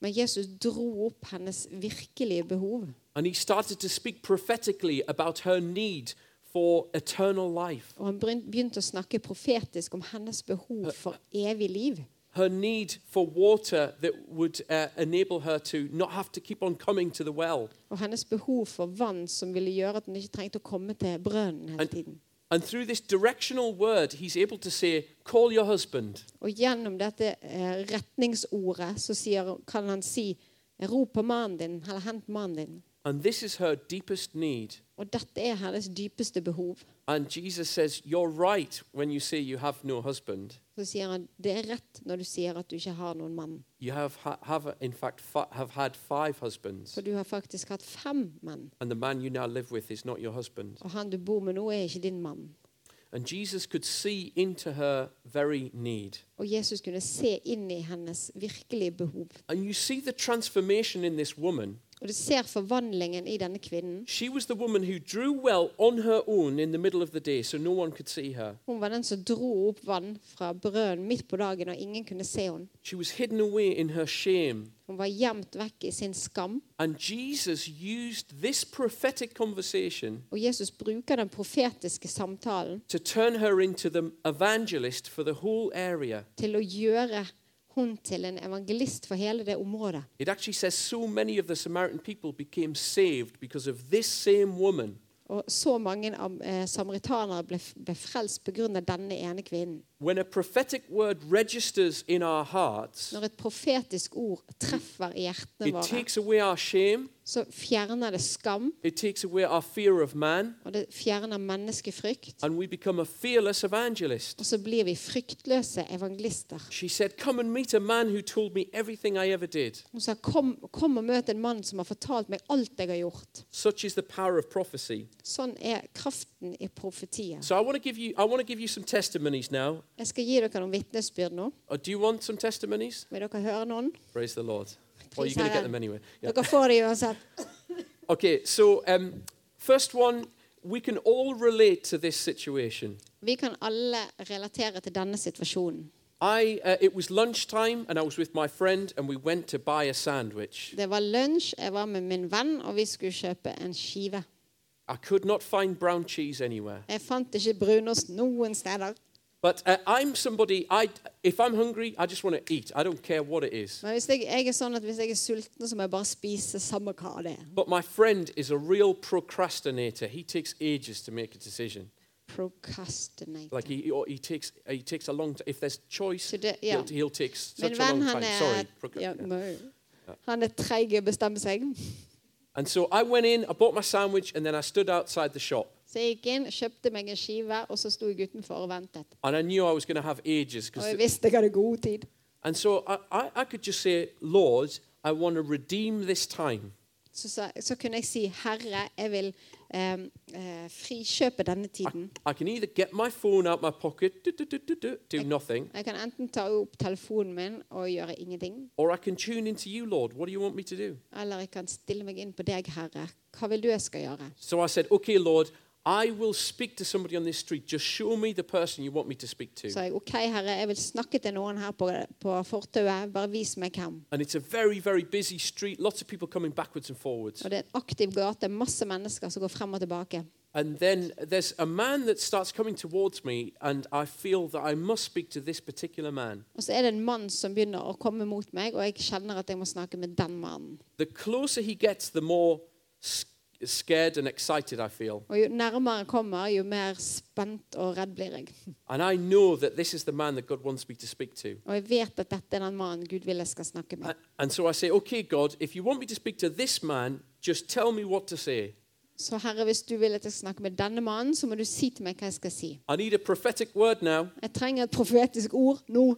Speaker 2: Men Jesus dro opp hennes virkelige behov.
Speaker 1: and he started to speak prophetically about her need for eternal life.
Speaker 2: Og han bryn- begynte å snakke profetisk om hennes behov for evig liv.
Speaker 1: her need for water that would uh, enable her to not have to keep on coming to the well.
Speaker 2: Og hennes behov for vann som ville gjøre at hun ikke trengte å komme til brønnen hele
Speaker 1: And-
Speaker 2: tiden.
Speaker 1: And through this directional word, he's able to say, Call your husband.
Speaker 2: Og gjennom dette eh, retningsordet så sier, kan han si Rop på mannen din, eller hent mannen din.
Speaker 1: And this is her deepest need.
Speaker 2: Og dette er hennes dypeste behov.
Speaker 1: And Jesus says, You're right when you say you have no husband.
Speaker 2: Så sier han det er rett når du sier at du ikke har noen mann.
Speaker 1: You have, ha- have in fact, fa- have had five husbands.
Speaker 2: For du har faktisk hatt fem menn.
Speaker 1: And the man you now live with is not your husband.
Speaker 2: Og han du bor med nå, er ikke din mann.
Speaker 1: And Jesus could see into her very need.
Speaker 2: Og Jesus kunne se inn i hennes virkelige behov.
Speaker 1: And you see the transformation in this woman.
Speaker 2: Og du ser forvandlingen i denne kvinnen.
Speaker 1: She was the woman who drew well on her own in the middle of the day so no one could see her.
Speaker 2: Hun var den som dro opp vann fra brønnen midt på dagen, og ingen kunne se henne.
Speaker 1: She was hidden away in her shame.
Speaker 2: Hun var gjemt vekk i sin skam.
Speaker 1: And Jesus used this prophetic conversation
Speaker 2: Og Jesus bruker den profetiske samtalen
Speaker 1: to turn her into the evangelist for the whole area.
Speaker 2: til å gjøre hun til en evangelist for hele det området.
Speaker 1: It actually says so many of the Samaritan people became saved because of this same woman.
Speaker 2: Og så mange am- eh, samaritanere ble f- ble frelst pga. denne ene kvinnen.
Speaker 1: When a prophetic word registers in our hearts,
Speaker 2: Når et profetisk ord treffer i hjertene
Speaker 1: it
Speaker 2: våre,
Speaker 1: takes away our shame,
Speaker 2: så fjerner det skam,
Speaker 1: it takes away our fear of man,
Speaker 2: og det fjerner menneskefrykt.
Speaker 1: and we become a fearless evangelist.
Speaker 2: Og så blir vi fryktløse evangelister.
Speaker 1: She said, Come and meet a man who told me everything I ever did.
Speaker 2: Hun sa, kom, kom og møt en mann som har fortalt meg alt jeg har gjort.
Speaker 1: Such is the power of prophecy.
Speaker 2: Sånn er kraften i profetier.
Speaker 1: So I want to give you I want to give you some testimonies now.
Speaker 2: Jeg skal gi dere noen vitnesbyrd nå.
Speaker 1: Uh, do you want some testimonies?
Speaker 2: Vil dere høre noen?
Speaker 1: Praise the Lord. Well,
Speaker 2: Please
Speaker 1: you're going to
Speaker 2: have
Speaker 1: get
Speaker 2: a-
Speaker 1: them anyway. Yeah.
Speaker 2: Dere får det uansett.
Speaker 1: Okay, so um, first one, we can all relate to this situation.
Speaker 2: Vi kan alle relatere til denne situasjonen.
Speaker 1: I, uh, it was lunchtime, and I was with my friend, and we went to buy a sandwich.
Speaker 2: Det var lunsj, jeg var med min venn, og vi skulle kjøpe en skive.
Speaker 1: I could not find brown cheese anywhere.
Speaker 2: Jeg fant ikke brunost noen steder.
Speaker 1: But uh, I'm somebody, I, if I'm hungry, I just want to eat. I don't care what it is.
Speaker 2: Men hvis jeg, jeg er sånn at hvis jeg er sulten, så må jeg bare spise samme hva det er.
Speaker 1: But my friend is a real procrastinator. He takes ages to make a decision.
Speaker 2: Procrastinate.
Speaker 1: Like he, or he takes, he takes a long time. If there's choice,
Speaker 2: So the- yeah.
Speaker 1: he'll, he'll take s-
Speaker 2: Min
Speaker 1: such a
Speaker 2: venn,
Speaker 1: long
Speaker 2: han
Speaker 1: time.
Speaker 2: er,
Speaker 1: Sorry. procra-
Speaker 2: ja,
Speaker 1: yeah.
Speaker 2: må- han er treig i å bestemme seg.
Speaker 1: And so I went in, I bought my sandwich, and then I stood outside the shop.
Speaker 2: Så jeg gikk inn, kjøpte meg en skive, og så sto jeg utenfor og ventet.
Speaker 1: And I knew I was going to Oh, have ages.
Speaker 2: Og
Speaker 1: 'cause
Speaker 2: jeg
Speaker 1: the-
Speaker 2: visste jeg hadde god tid.
Speaker 1: and so I, I, I could just say, Lord, I want to redeem this time.
Speaker 2: Så, sa, så kunne jeg si, Herre, jeg vil eh, eh, frikjøpe denne
Speaker 1: I,
Speaker 2: tiden.
Speaker 1: I can either get my phone out my pocket, do, do, do, do, do, do nothing,
Speaker 2: Jeg kan enten ta opp telefonen min og gjøre ingenting,
Speaker 1: or I can tune into you, Lord. What do you want me to do?
Speaker 2: eller jeg kan stille meg inn på deg, Herre. Hva vil du jeg skal gjøre?
Speaker 1: So I said, Okay, Lord, I will speak to somebody on this street. Just show me the person you want me to speak to.
Speaker 2: Så jeg, OK, Herre, jeg vil snakke til noen her på, på fortauet. Bare vis meg hvem.
Speaker 1: And it's a very, very busy street, lots of people coming backwards and forwards.
Speaker 2: Og det er en aktiv gate, masse mennesker som går frem og tilbake.
Speaker 1: And then there's a man that starts coming towards me, and I feel that I must speak to this particular man.
Speaker 2: Og så er det en mann som begynner å komme mot meg, og jeg kjenner at jeg må snakke med den mannen.
Speaker 1: The closer he gets, the more s- scared and excited I feel.
Speaker 2: Og jo nærmere jeg kommer, jo mer spent og redd blir jeg.
Speaker 1: And I know that this is the man that God wants me to speak to.
Speaker 2: Og jeg vet at dette er den mannen Gud vil jeg skal snakke
Speaker 1: A-
Speaker 2: med.
Speaker 1: And so I say, Okay, God, if you want me to speak to this man, just tell me what to say.
Speaker 2: Så Herre, hvis du vil at jeg skal snakke med denne mannen, så må du si til meg hva jeg skal si.
Speaker 1: I need a prophetic word now.
Speaker 2: Jeg trenger et profetisk ord nå.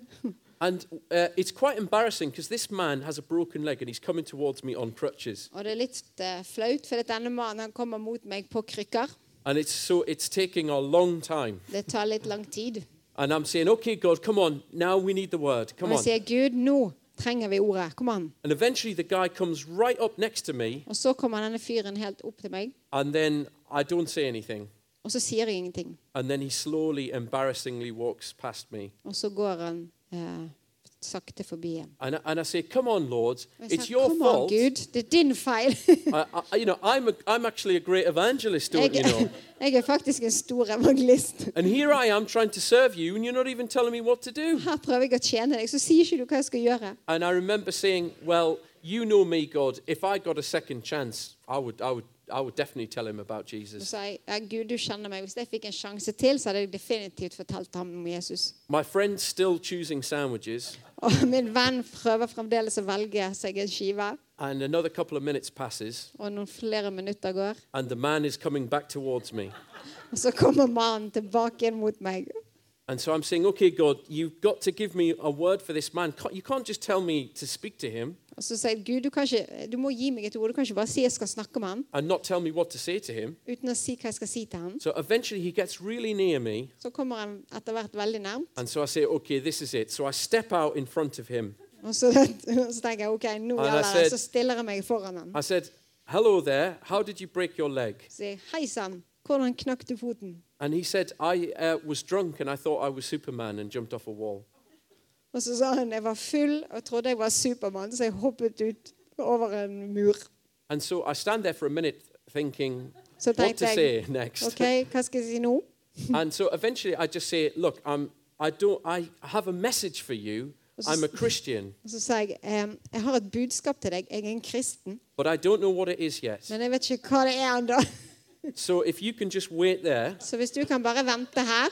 Speaker 1: And uh, it's quite embarrassing because this man has a broken leg and he's coming towards me on crutches.
Speaker 2: Og det er litt eh, flaut, for at denne mannen han kommer mot meg på krykker.
Speaker 1: And it's, so it's taking a long time.
Speaker 2: Det tar litt lang tid.
Speaker 1: And I'm saying, okay, God, come on. Now we need the word.
Speaker 2: Og
Speaker 1: Come on.
Speaker 2: jeg sier, Gud, nå trenger vi ordet. Kom an.
Speaker 1: And eventually the guy comes right up next to me,
Speaker 2: Og så kommer denne fyren helt opp til meg,
Speaker 1: and then I don't say anything.
Speaker 2: og så sier jeg ingenting.
Speaker 1: And then he slowly, embarrassingly walks past me.
Speaker 2: Og så går han eh, sakte forbi igjen.
Speaker 1: And, I- and I say, come on, Lord.
Speaker 2: Og jeg
Speaker 1: It's
Speaker 2: sa,
Speaker 1: your
Speaker 2: kom an,
Speaker 1: fault.
Speaker 2: Gud, det er din feil.
Speaker 1: I, I, you know, I'm, a, I'm actually a great evangelist, don't you
Speaker 2: Jeg,
Speaker 1: know?
Speaker 2: jeg er faktisk en stor evangelist.
Speaker 1: And here I am trying to serve you, and you're not even telling me what to do.
Speaker 2: Her prøver jeg å tjene deg, så sier ikke du hva jeg skal gjøre.
Speaker 1: And I remember saying, well, you know me, God. If I got a second chance, I would, I would, I would definitely tell him about
Speaker 2: Så
Speaker 1: Jesus.
Speaker 2: sa jeg, ja, Gud, du kjenner meg. Hvis jeg fikk en sjanse til, så hadde jeg definitivt fortalt ham om Jesus.
Speaker 1: My friend's still choosing sandwiches.
Speaker 2: Og min venn prøver fremdeles å velge seg en skive.
Speaker 1: And another couple of minutes passes,
Speaker 2: Og noen flere minutter går,
Speaker 1: and the man is coming back towards me.
Speaker 2: og så kommer mannen tilbake igjen mot meg.
Speaker 1: And so I'm saying, okay, God, you've got to give me a word for this man. Can't- You can't just tell me to speak to him
Speaker 2: Og så sier jeg, Gud, du, kan ikke, du må gi meg et ord. Du kan ikke bare si jeg skal snakke med ham,
Speaker 1: and not tell me what to say to him.
Speaker 2: uten å si hva jeg skal si til ham.
Speaker 1: So eventually he gets really near me.
Speaker 2: Så kommer han etter hvert veldig nærmt.
Speaker 1: And so I say, okay, this is it. So I step out in front of him.
Speaker 2: Og så, så tenker jeg, ok, nå
Speaker 1: And I
Speaker 2: gjelder det.
Speaker 1: said-
Speaker 2: Så stiller jeg meg foran ham.
Speaker 1: I said, hello there. How did you break your leg?
Speaker 2: Så sier jeg, hei sann, hvordan knakk du foten?
Speaker 1: And he said, I uh, was drunk and I thought I was Superman and jumped off a wall.
Speaker 2: Og så sa han jeg var full og trodde jeg var Supermann, så jeg hoppet ut over en mur.
Speaker 1: And so I stand there for a minute thinking,
Speaker 2: Så
Speaker 1: what to
Speaker 2: tenkte jeg
Speaker 1: say next?
Speaker 2: OK, hva skal jeg si nå?
Speaker 1: and so eventually I just say, look, I'm, I, don't, I have a message for you,
Speaker 2: Og så,
Speaker 1: I'm a Christian,
Speaker 2: og så sa jeg ehm, jeg har et budskap til deg. Jeg er en kristen,
Speaker 1: but I don't know what it is yet.
Speaker 2: men jeg vet ikke hva det er ennå.
Speaker 1: So if you can just wait there,
Speaker 2: Så hvis du kan bare vente her,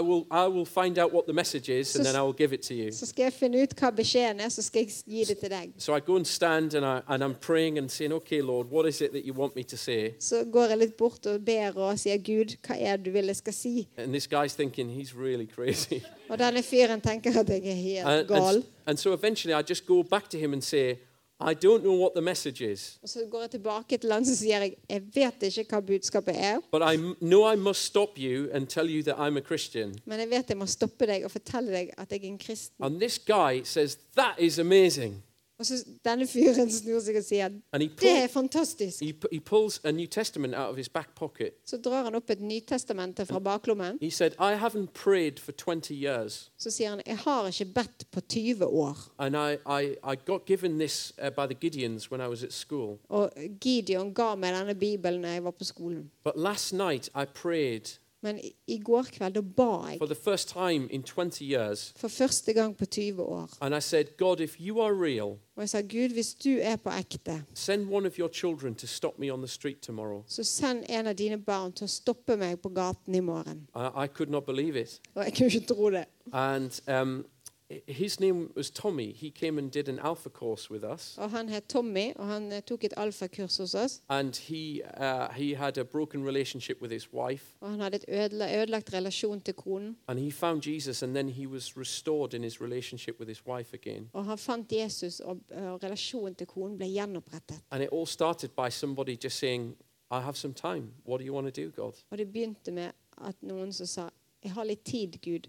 Speaker 1: I will, I will find out what the message is and
Speaker 2: So-
Speaker 1: then I will give it to you.
Speaker 2: så skal jeg finne ut hva beskjeden er, så skal jeg gi det til deg.
Speaker 1: So I go and stand and, I, and I'm praying and saying, okay, Lord, what is it that you want me to say?
Speaker 2: Så går jeg litt bort og ber og sier, Gud, hva er det du vil jeg skal si?
Speaker 1: And this guy's thinking, he's really crazy.
Speaker 2: Og denne fyren tenker at jeg er helt
Speaker 1: And, and,
Speaker 2: gal.
Speaker 1: s- and so eventually I just go back to him and say, I don't know what the message is,
Speaker 2: Og så går jeg tilbake til han, så sier jeg, jeg vet ikke hva budskapet er,
Speaker 1: but I m- know I must stop you and tell you that I'm a Christian.
Speaker 2: men jeg vet jeg må stoppe deg og fortelle deg at jeg er en kristen.
Speaker 1: And this guy says, That is amazing.
Speaker 2: Og så denne fyren snur seg og sier,
Speaker 1: And he,
Speaker 2: det
Speaker 1: pull,
Speaker 2: er fantastisk.
Speaker 1: he, pu- he pulls a New Testament out of his back pocket.
Speaker 2: Så drar han opp et nytestamente fra baklommen,
Speaker 1: He said, I haven't prayed for 20 years.
Speaker 2: så sier han, jeg har ikke bedt på 20 år.
Speaker 1: And I, I, I got given this uh, by the Gideons when I was at school.
Speaker 2: Og Gideon ga meg denne bibelen når jeg var på skolen.
Speaker 1: But last night I prayed
Speaker 2: Men i- i går kveld, da ba jeg
Speaker 1: for the first time in 20 years.
Speaker 2: for første gang på 20 år.
Speaker 1: And I said, God, if you are real,
Speaker 2: Og jeg sa, Gud, hvis du er på ekte,
Speaker 1: send one of your children to stop me on the street tomorrow.
Speaker 2: så send en av dine barn til å stoppe meg på gaten i morgen.
Speaker 1: I, I could not believe it.
Speaker 2: Og jeg kunne ikke tro det.
Speaker 1: And um, h- his name was Tommy. He came and did an alpha course with us.
Speaker 2: Og han het Tommy, og han eh, tok et alfakurs hos oss.
Speaker 1: And he, uh, he had a broken relationship with his wife.
Speaker 2: Og han hadde et ødela, ødelagt relasjon til konen.
Speaker 1: And he found Jesus, and then he was restored in his relationship with his wife again.
Speaker 2: Og han fant Jesus, og, og relasjonen til konen ble gjenopprettet.
Speaker 1: And it all started by somebody just saying, I have some time. What do you want to do, God?
Speaker 2: Og det begynte med at noen som sa, jeg har litt tid, Gud.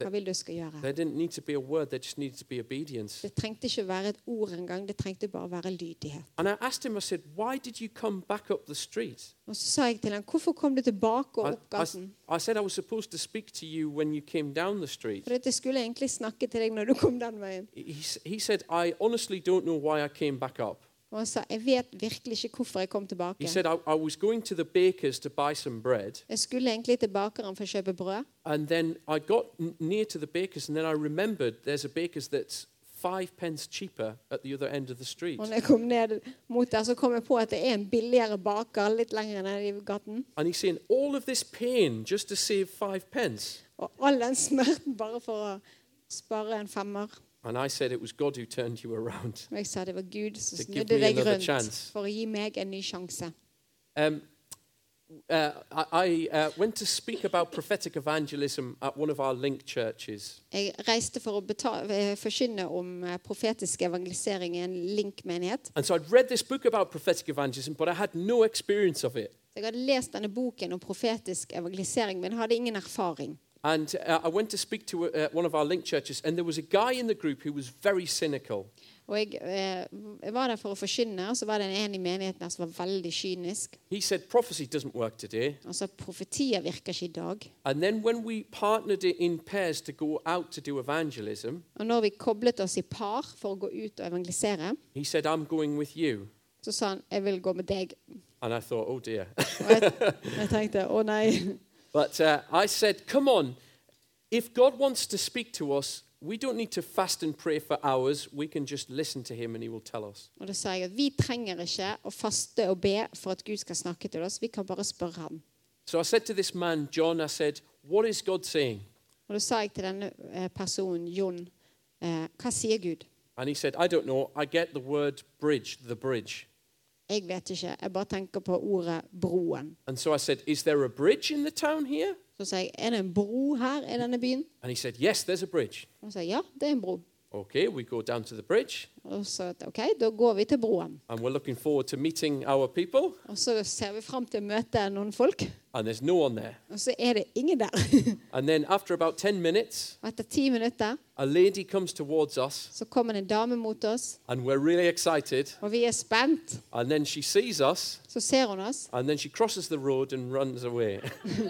Speaker 2: Hva vil du jeg skal gjøre?
Speaker 1: There didn't need to be a word, there just needed to be obedience.
Speaker 2: Det trengte ikke være et ord engang, det trengte bare være lydighet.
Speaker 1: And I asked him, I said, Why did you come back up the street?
Speaker 2: Og så sa jeg til han, hvorfor kom du tilbake og
Speaker 1: I,
Speaker 2: opp
Speaker 1: I s-
Speaker 2: gassen?
Speaker 1: I said, I was supposed to speak to you when you came down the street.
Speaker 2: For dette skulle jeg egentlig snakke til deg når du kom den veien.
Speaker 1: He, s- he said, I honestly don't know why I came back up.
Speaker 2: Og han sa, jeg vet virkelig ikke hvorfor jeg kom
Speaker 1: He
Speaker 2: tilbake.
Speaker 1: said, I, I was going to the baker's to buy some bread.
Speaker 2: Jeg skulle egentlig til bakeren for å kjøpe brød.
Speaker 1: And then I got n- near to the baker's, and then I remembered there's a baker's that's five pence cheaper at the other end of the street.
Speaker 2: Og når jeg kom ned mot der, så kom jeg på at det er en billigere baker litt lenger ned i gaten.
Speaker 1: And he's saying, All of this pain just to save five pence.
Speaker 2: Og all den smerten bare for å spare en femmer.
Speaker 1: And I said, It was God who turned you around.
Speaker 2: Og jeg sa det var Gud som
Speaker 1: To give
Speaker 2: snudde
Speaker 1: me
Speaker 2: deg
Speaker 1: another
Speaker 2: rundt
Speaker 1: chance.
Speaker 2: for å gi meg en ny sjanse.
Speaker 1: Um, uh, I, I uh, went to speak about prophetic evangelism at one of our link churches.
Speaker 2: Jeg reiste for å beta- eh, forkynne om eh, profetisk evangelisering i en link-menighet.
Speaker 1: And so I'd read this book about prophetic evangelism, but I had no experience of it.
Speaker 2: Så Jeg hadde lest denne boken om profetisk evangelisering, men hadde ingen erfaring.
Speaker 1: And uh, I went to speak to uh, one of our link churches, and there was a guy in the group who was very cynical.
Speaker 2: Og jeg, eh, jeg var der for å forkynne, og så var det en i menigheten her som var veldig kynisk.
Speaker 1: He said, Prophecy doesn't work today.
Speaker 2: Han sa profetier virker ikke i dag.
Speaker 1: And then when we partnered it in pairs to go out to do evangelism,
Speaker 2: Og når vi koblet oss i par for å gå ut og evangelisere,
Speaker 1: he said, I'm going with you.
Speaker 2: så sa han 'jeg vil gå med deg'.
Speaker 1: And I thought, oh dear.
Speaker 2: Og jeg, jeg tenkte 'å nei'.
Speaker 1: But uh, I said, come on, if God wants to speak to us, we don't need to fast and pray for hours. We can just listen to him and he will tell us.
Speaker 2: Og da sa jeg at vi trenger ikke å faste og be for at Gud skal snakke til oss, vi kan bare spørre ham.
Speaker 1: So I said to this man, John, I said, what is God saying?
Speaker 2: Og da sa jeg til denne eh, personen, Jon, eh, hva sier Gud?
Speaker 1: And he said, I don't know. I get the word bridge, the bridge.
Speaker 2: Jeg vet ikke, jeg bare tenker på ordet 'broen'.
Speaker 1: And so I said, Is there a bridge in the town here?
Speaker 2: Så sa jeg, er det en bro her i denne byen?
Speaker 1: And he said, Yes, there's a bridge.
Speaker 2: Og han sa, ja, det er en bro.
Speaker 1: Okay, we go down to the bridge
Speaker 2: Og så, ok, da går vi til broen.
Speaker 1: and we're looking forward to meeting our people.
Speaker 2: Og så ser vi frem til å møte noen folk,
Speaker 1: And there's no one there.
Speaker 2: og så er det ingen der.
Speaker 1: And then after about 10 minutes,
Speaker 2: Og etter ti minutter
Speaker 1: a lady comes towards us
Speaker 2: så kommer det en dame mot oss,
Speaker 1: and we're really excited.
Speaker 2: og vi er spent.
Speaker 1: And then she sees us,
Speaker 2: Så ser hun oss,
Speaker 1: and then she crosses the road and runs away.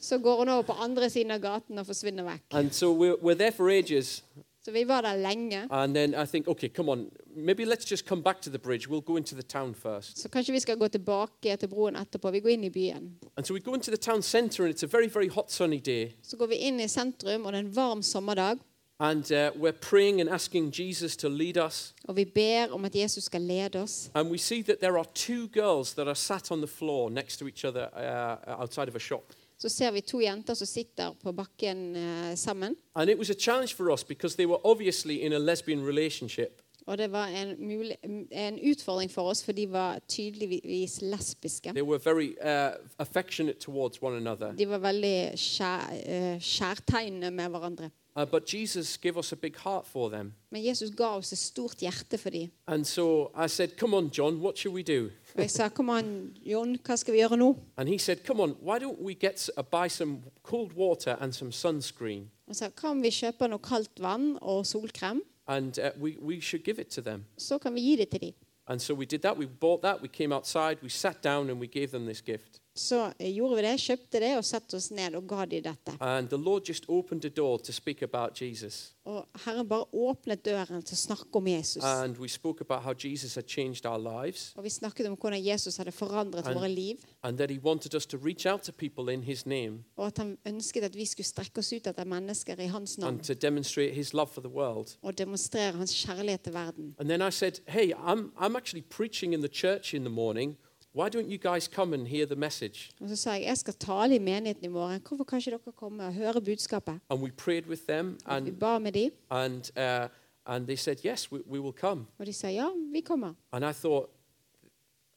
Speaker 2: så går hun over på andre siden av gaten og forsvinner vekk.
Speaker 1: and so we're, we're there for ages.
Speaker 2: Så vi var der lenge,
Speaker 1: And then I think, okay, come on, maybe let's just come back to the bridge. We'll go into the town first.
Speaker 2: så kanskje vi skal gå tilbake til broen etterpå. Vi går inn i byen.
Speaker 1: And so we go into the town centre, and it's a very, very hot, sunny day.
Speaker 2: Så går vi inn i sentrum, og det er en varm sommerdag.
Speaker 1: And uh, we're praying and asking Jesus to lead us.
Speaker 2: Og vi ber om at Jesus skal lede oss.
Speaker 1: And we see that there are two girls that are sat on the floor next to each other uh, outside of a shop.
Speaker 2: Så ser vi to jenter som sitter på bakken eh, sammen.
Speaker 1: And it was a challenge for us because they were obviously in a lesbian relationship.
Speaker 2: Og det var en, muli- en utfordring for oss, for de var tydeligvis lesbiske.
Speaker 1: They were very uh, affectionate towards one another.
Speaker 2: De var veldig skjær, eh, skjærtegnende med hverandre.
Speaker 1: Uh, but Jesus gave us a big heart for them.
Speaker 2: Men Jesus ga oss et stort hjerte for dem.
Speaker 1: And so I said, Come on, John, what should we do?
Speaker 2: Og jeg sa, kom an, Jon, hva skal vi gjøre nå?
Speaker 1: And he said, Come on, why don't we get s- uh, buy some cold water and some sunscreen?
Speaker 2: Han sa, Altså, kan vi kjøpe noe kaldt vann og solkrem?
Speaker 1: And uh, we, we should give it to them.
Speaker 2: Så kan vi gi det til dem.
Speaker 1: And so we did that. We bought that. We came outside. We sat down and we gave them this gift.
Speaker 2: Så eh, gjorde vi det, kjøpte det og satte oss ned og ga dem dette.
Speaker 1: And the Lord just opened a door to speak about Jesus.
Speaker 2: Og Herren bare åpnet døren til å snakke om Jesus.
Speaker 1: And we spoke about how Jesus had changed our lives
Speaker 2: Og vi snakket om hvordan Jesus hadde forandret
Speaker 1: And-
Speaker 2: våre liv,
Speaker 1: and that he wanted us to reach out to people in his name
Speaker 2: og at han ønsket at vi skulle strekke oss ut etter mennesker i hans navn
Speaker 1: and to demonstrate his love for the world.
Speaker 2: og demonstrere hans kjærlighet til verden.
Speaker 1: And then I said, Hey, I'm, I'm actually preaching in the church in the morning. Why don't you guys come and hear the message?
Speaker 2: Og så sa jeg jeg skal tale i menigheten i morgen. Hvorfor kan ikke dere komme og høre budskapet?
Speaker 1: And we prayed with them,
Speaker 2: Og vi
Speaker 1: and,
Speaker 2: ba med dem,
Speaker 1: and, uh, and they said, Yes, we, we will come.
Speaker 2: og de sa ja, vi kommer.
Speaker 1: And I thought,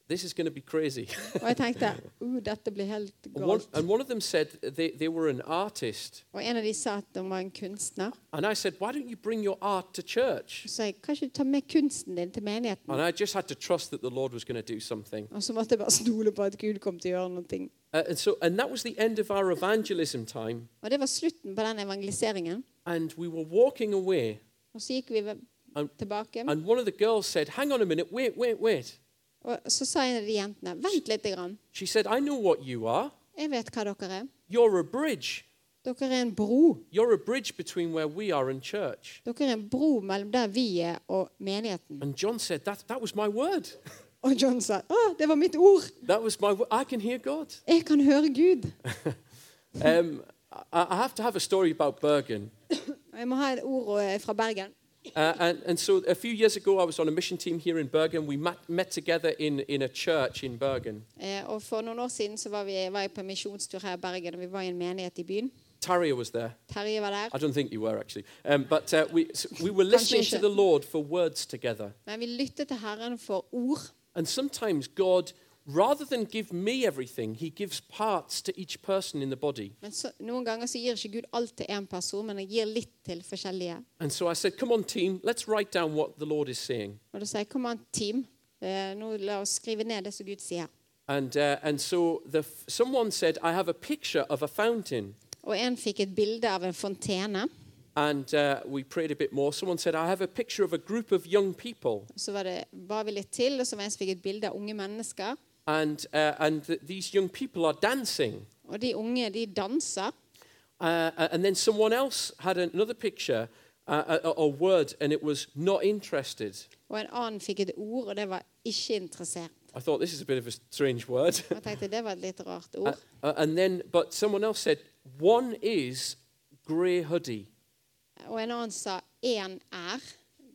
Speaker 1: This is going to be crazy.
Speaker 2: Og jeg tenkte uh, dette blir helt
Speaker 1: And one,
Speaker 2: galt.
Speaker 1: and one of them said they, they were an artist.
Speaker 2: Og en av de sa at de var en kunstner.
Speaker 1: And I said, Why don't you bring your art to church?
Speaker 2: Så sa jeg kan ikke du ta med kunsten din til menigheten?
Speaker 1: And I just had to trust that the Lord was going to do something.
Speaker 2: Og så måtte jeg bare stole på at Gud kom til å gjøre noe.
Speaker 1: Uh, and, so, and that was the end of our evangelism time.
Speaker 2: Og det var slutten på den evangeliseringen.
Speaker 1: And we were walking away,
Speaker 2: Og så gikk vi ve-
Speaker 1: And-
Speaker 2: tilbake.
Speaker 1: and one of the girls said, Hang on a minute, wait, wait, wait.
Speaker 2: Og så sa en av de jentene Vent litt. Grann.
Speaker 1: She said, I know what you are.
Speaker 2: Jeg vet hva dere er.
Speaker 1: You're a bridge.
Speaker 2: Dere er en bro.
Speaker 1: You're a bridge between where we are and church.
Speaker 2: Dere er en bro mellom der vi er, og menigheten.
Speaker 1: And John said, That, that was my word.
Speaker 2: Og John sa Å, det var mitt ord!
Speaker 1: That was my word. I can hear God.
Speaker 2: Jeg kan høre Gud.
Speaker 1: Um, I, I have to have a story about Bergen.
Speaker 2: Og Jeg må ha et ord eh, fra Bergen.
Speaker 1: Uh, and, and so a few years ago, I was on a mission team here in Bergen. We met, met together in, in a church in Bergen.
Speaker 2: Eh, og For noen år siden så var, vi, var jeg på en misjonstur her i Bergen, og vi var i en menighet i byen.
Speaker 1: Tarja was there.
Speaker 2: Terje var der.
Speaker 1: I don't think you were actually. Um, but uh, we, so we were listening to
Speaker 2: Transition.
Speaker 1: the Lord for words together.
Speaker 2: Men vi lyttet til Herren for ord.
Speaker 1: And sometimes God, rather than give me everything, He gives parts to each person in the body.
Speaker 2: Men så, noen ganger så gir ikke Gud alt til én person, men han gir litt til forskjellige.
Speaker 1: And so I said, Come on, team, let's write down what the Lord is saying.
Speaker 2: Og da sier jeg, kom an, team. Eh, nå la oss skrive ned det som Gud sier.
Speaker 1: And, uh, and so the, f- someone said, I have a picture of a fountain.
Speaker 2: Og en fikk et bilde av en fontene.
Speaker 1: And uh, we prayed a bit more. Someone said, I have a picture of a group of young people.
Speaker 2: Så var det, ba vi litt til, og så var det en som fikk et bilde av unge mennesker.
Speaker 1: And, uh, and th- these young people are dancing.
Speaker 2: Og de unge, de danser.
Speaker 1: Uh, and then someone else had another picture uh, a, a word, and it was not interested.
Speaker 2: Og en annen fikk et ord, og det var ikke interessert.
Speaker 1: I thought this is a bit of a strange word.
Speaker 2: Og jeg tenkte, det var et litt rart
Speaker 1: Uh,
Speaker 2: ord.
Speaker 1: uh, and then, but someone else said, one is grey hoodie.
Speaker 2: Og en annen sa, én er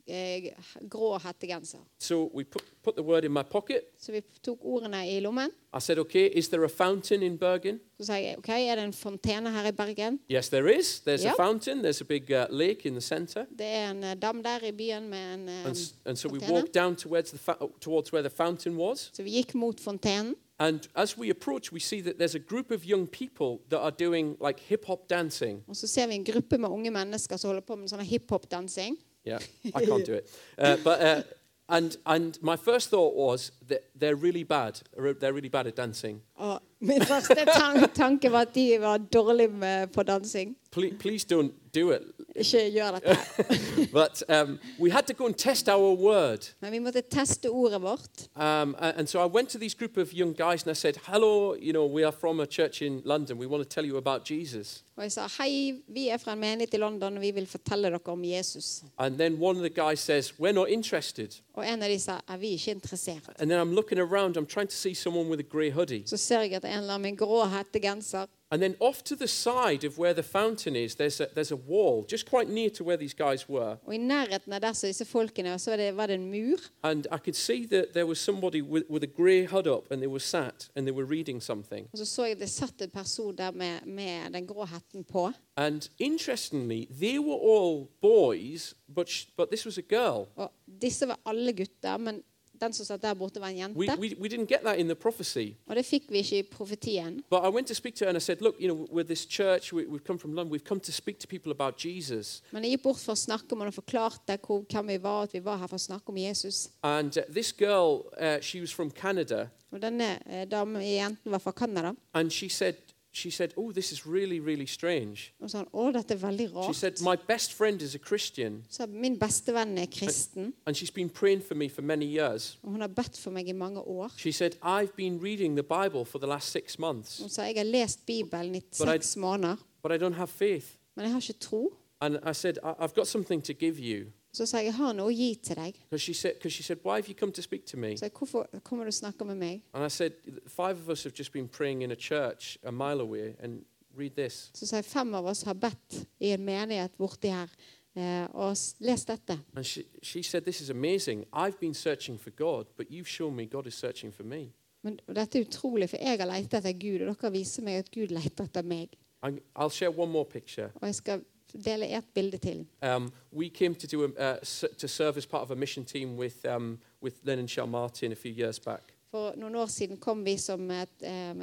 Speaker 2: eh, grå hettegenser.
Speaker 1: So we put, put the word in my pocket.
Speaker 2: Så vi tok ordene i lommen.
Speaker 1: I said, okay, is there a fountain in Bergen?
Speaker 2: Så sa jeg, ok, er det en fontene her i Bergen?
Speaker 1: Yes, there is. There's
Speaker 2: Yeah.
Speaker 1: a fountain. There's a big uh, lake in the centre.
Speaker 2: Det er en eh, dam der i byen med en eh,
Speaker 1: And, s- and so we
Speaker 2: fontene.
Speaker 1: walked down towards, the fa- towards where the fountain was.
Speaker 2: Så vi gikk mot fontenen.
Speaker 1: And as we approach, we see that there's a group of young people that are doing like hip hop dancing.
Speaker 2: Og så ser vi en gruppe med unge mennesker som holder på med sånn hiphop-dansing.
Speaker 1: Yeah, I can't do it. Uh, but uh, and and my first thought was that they're really bad. They're really bad at dancing.
Speaker 2: Og min første tan tanke var at de var dårlige med, på dansing.
Speaker 1: Please, please don't do it.
Speaker 2: Ikke gjør dette.
Speaker 1: But um, we had to go and test our word.
Speaker 2: Men vi måtte teste ordet vårt.
Speaker 1: Um, a- and so I went to these group of young guys and I said, "Hello, you know, we are from a church in London. We want to tell you about Jesus."
Speaker 2: Og jeg sa hei, vi er fra en menighet i London, og vi vil fortelle dere om Jesus.
Speaker 1: And then one of the guys says, "We're not interested."
Speaker 2: Og en av de sa er vi er ikke interessert.
Speaker 1: And then I'm looking around. I'm trying to see someone with a grey hoodie.
Speaker 2: Så ser jeg at en eller annen med grå hettegenser.
Speaker 1: And then off to the side of where the fountain is, there's a, there's a wall just quite near to where these guys were.
Speaker 2: Og i nærheten av der som disse folkene var, så var det, var det en mur.
Speaker 1: And I could see that there was somebody with, with a grey hood up and they were sat and they were reading something.
Speaker 2: Og så så jeg det satt en person der med, med den grå hetten på.
Speaker 1: And interestingly, they were all boys, but, sh- but this was a girl.
Speaker 2: Og disse var alle gutter, men den som satt der borte, var en
Speaker 1: We,
Speaker 2: jente.
Speaker 1: we, we didn't get that in the prophecy.
Speaker 2: Og det fikk vi ikke i profetien.
Speaker 1: But I went to speak to her and I said, Look, you know, we're this church, we, we've come from London, we've come to speak to people about Jesus.
Speaker 2: Men jeg gikk bort for å snakke med ham og forklarte hvor, hvem vi var, at vi var her for å snakke om Jesus.
Speaker 1: And uh, this girl, uh, she was from Canada,
Speaker 2: Og denne eh, damen, jenten var fra Canada.
Speaker 1: and she said, she said, Oh, this is really, really strange.
Speaker 2: Og sa han, å, dette er veldig
Speaker 1: She
Speaker 2: rart.
Speaker 1: said, My best friend is a Christian,
Speaker 2: Så min bestevenn er kristen,
Speaker 1: and she's been praying for me for many years.
Speaker 2: og hun har bedt for meg i mange år.
Speaker 1: She said, I've been reading the Bible for the last six
Speaker 2: Hun
Speaker 1: months,
Speaker 2: sa jeg har lest Bibelen i
Speaker 1: But I-
Speaker 2: seks måneder,
Speaker 1: but I don't have faith.
Speaker 2: men jeg har ikke tro.
Speaker 1: And I said, I- I've got something to give you.
Speaker 2: Så sa jeg jeg har noe å gi til deg.
Speaker 1: Because she, said, 'cause she said, Why have you come to speak to me?
Speaker 2: Så jeg, hvorfor kommer du og snakker med meg?
Speaker 1: And I said, Five of us have just been praying in a church a mile away, and read this.
Speaker 2: Så sa jeg fem av oss har bedt i en menighet borti her. Eh, og s- les dette.
Speaker 1: And she, she said, This is amazing. I've been searching for God, but you've shown me God is searching for me.
Speaker 2: Men og dette er utrolig, for jeg har lett etter Gud, og dere viser meg at Gud leter etter meg.
Speaker 1: i I'll share one more picture.
Speaker 2: Og jeg skal dele ett bilde til.
Speaker 1: Um, we came to, do a, uh, s- to serve as part of a mission team with, um, with Len and Shell Martin a few years back.
Speaker 2: For noen år siden kom vi som et eh,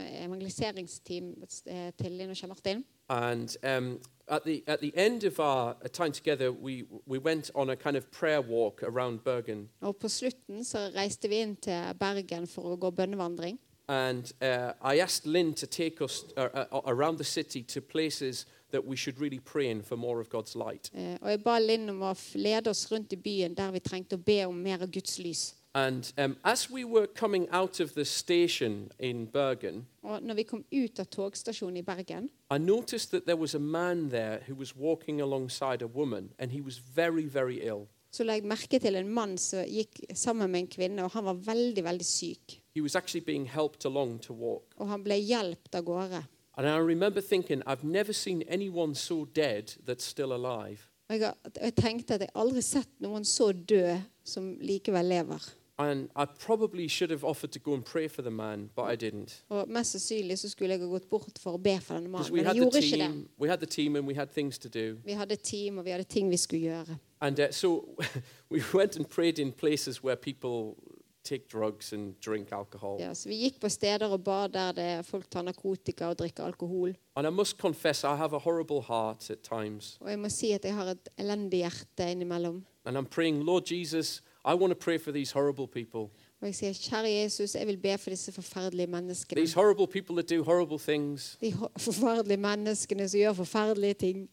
Speaker 2: evangeliseringsteam eh, til Linn og Kjell Martin.
Speaker 1: And um, at, the, at the end of our uh, time together, we, we went on a kind of prayer walk around Bergen.
Speaker 2: Og på slutten så reiste vi inn til Bergen for å gå bønnevandring.
Speaker 1: And uh, I asked Lynn to take us uh, uh, around the city to places that we should really pray in for more of God's light.
Speaker 2: Eh, og jeg ba Linn om å f- lede oss rundt i byen der vi trengte å be om mer av Guds lys.
Speaker 1: And um, as we were coming out of the station in Bergen,
Speaker 2: Og når vi kom ut av togstasjonen i Bergen,
Speaker 1: I noticed that there was a man there who was walking alongside a woman, and he was very, very ill.
Speaker 2: så la jeg merke til en mann som gikk sammen med en kvinne, og han var veldig, veldig syk.
Speaker 1: He was actually being helped along to walk.
Speaker 2: Og han ble hjulpet av gårde.
Speaker 1: And I remember thinking, I've never seen anyone so dead that's still alive.
Speaker 2: Og jeg, og jeg tenkte at jeg aldri sett noen så død som likevel lever.
Speaker 1: And I probably should have offered to go and pray for the man, but I didn't.
Speaker 2: Og mest sannsynlig så skulle jeg ha gått bort for å be for denne
Speaker 1: Because
Speaker 2: mannen,
Speaker 1: we
Speaker 2: men
Speaker 1: had
Speaker 2: jeg
Speaker 1: the
Speaker 2: gjorde ikke det.
Speaker 1: team, we had the team, and we had things to do.
Speaker 2: Vi hadde team, og vi hadde ting vi skulle gjøre.
Speaker 1: And uh, so we went and prayed in places where people take drugs and drink alcohol.
Speaker 2: Ja, så vi gikk på steder og bar der det folk tar narkotika og drikker alkohol.
Speaker 1: And I must confess, I have a horrible heart at times.
Speaker 2: Og jeg må si at jeg har et elendig hjerte innimellom.
Speaker 1: And I'm praying, Lord Jesus, I want to pray for these horrible people.
Speaker 2: Og jeg sier, kjære Jesus, jeg vil be for disse forferdelige menneskene.
Speaker 1: These horrible people that do horrible things.
Speaker 2: De ho- forferdelige menneskene som gjør forferdelige ting.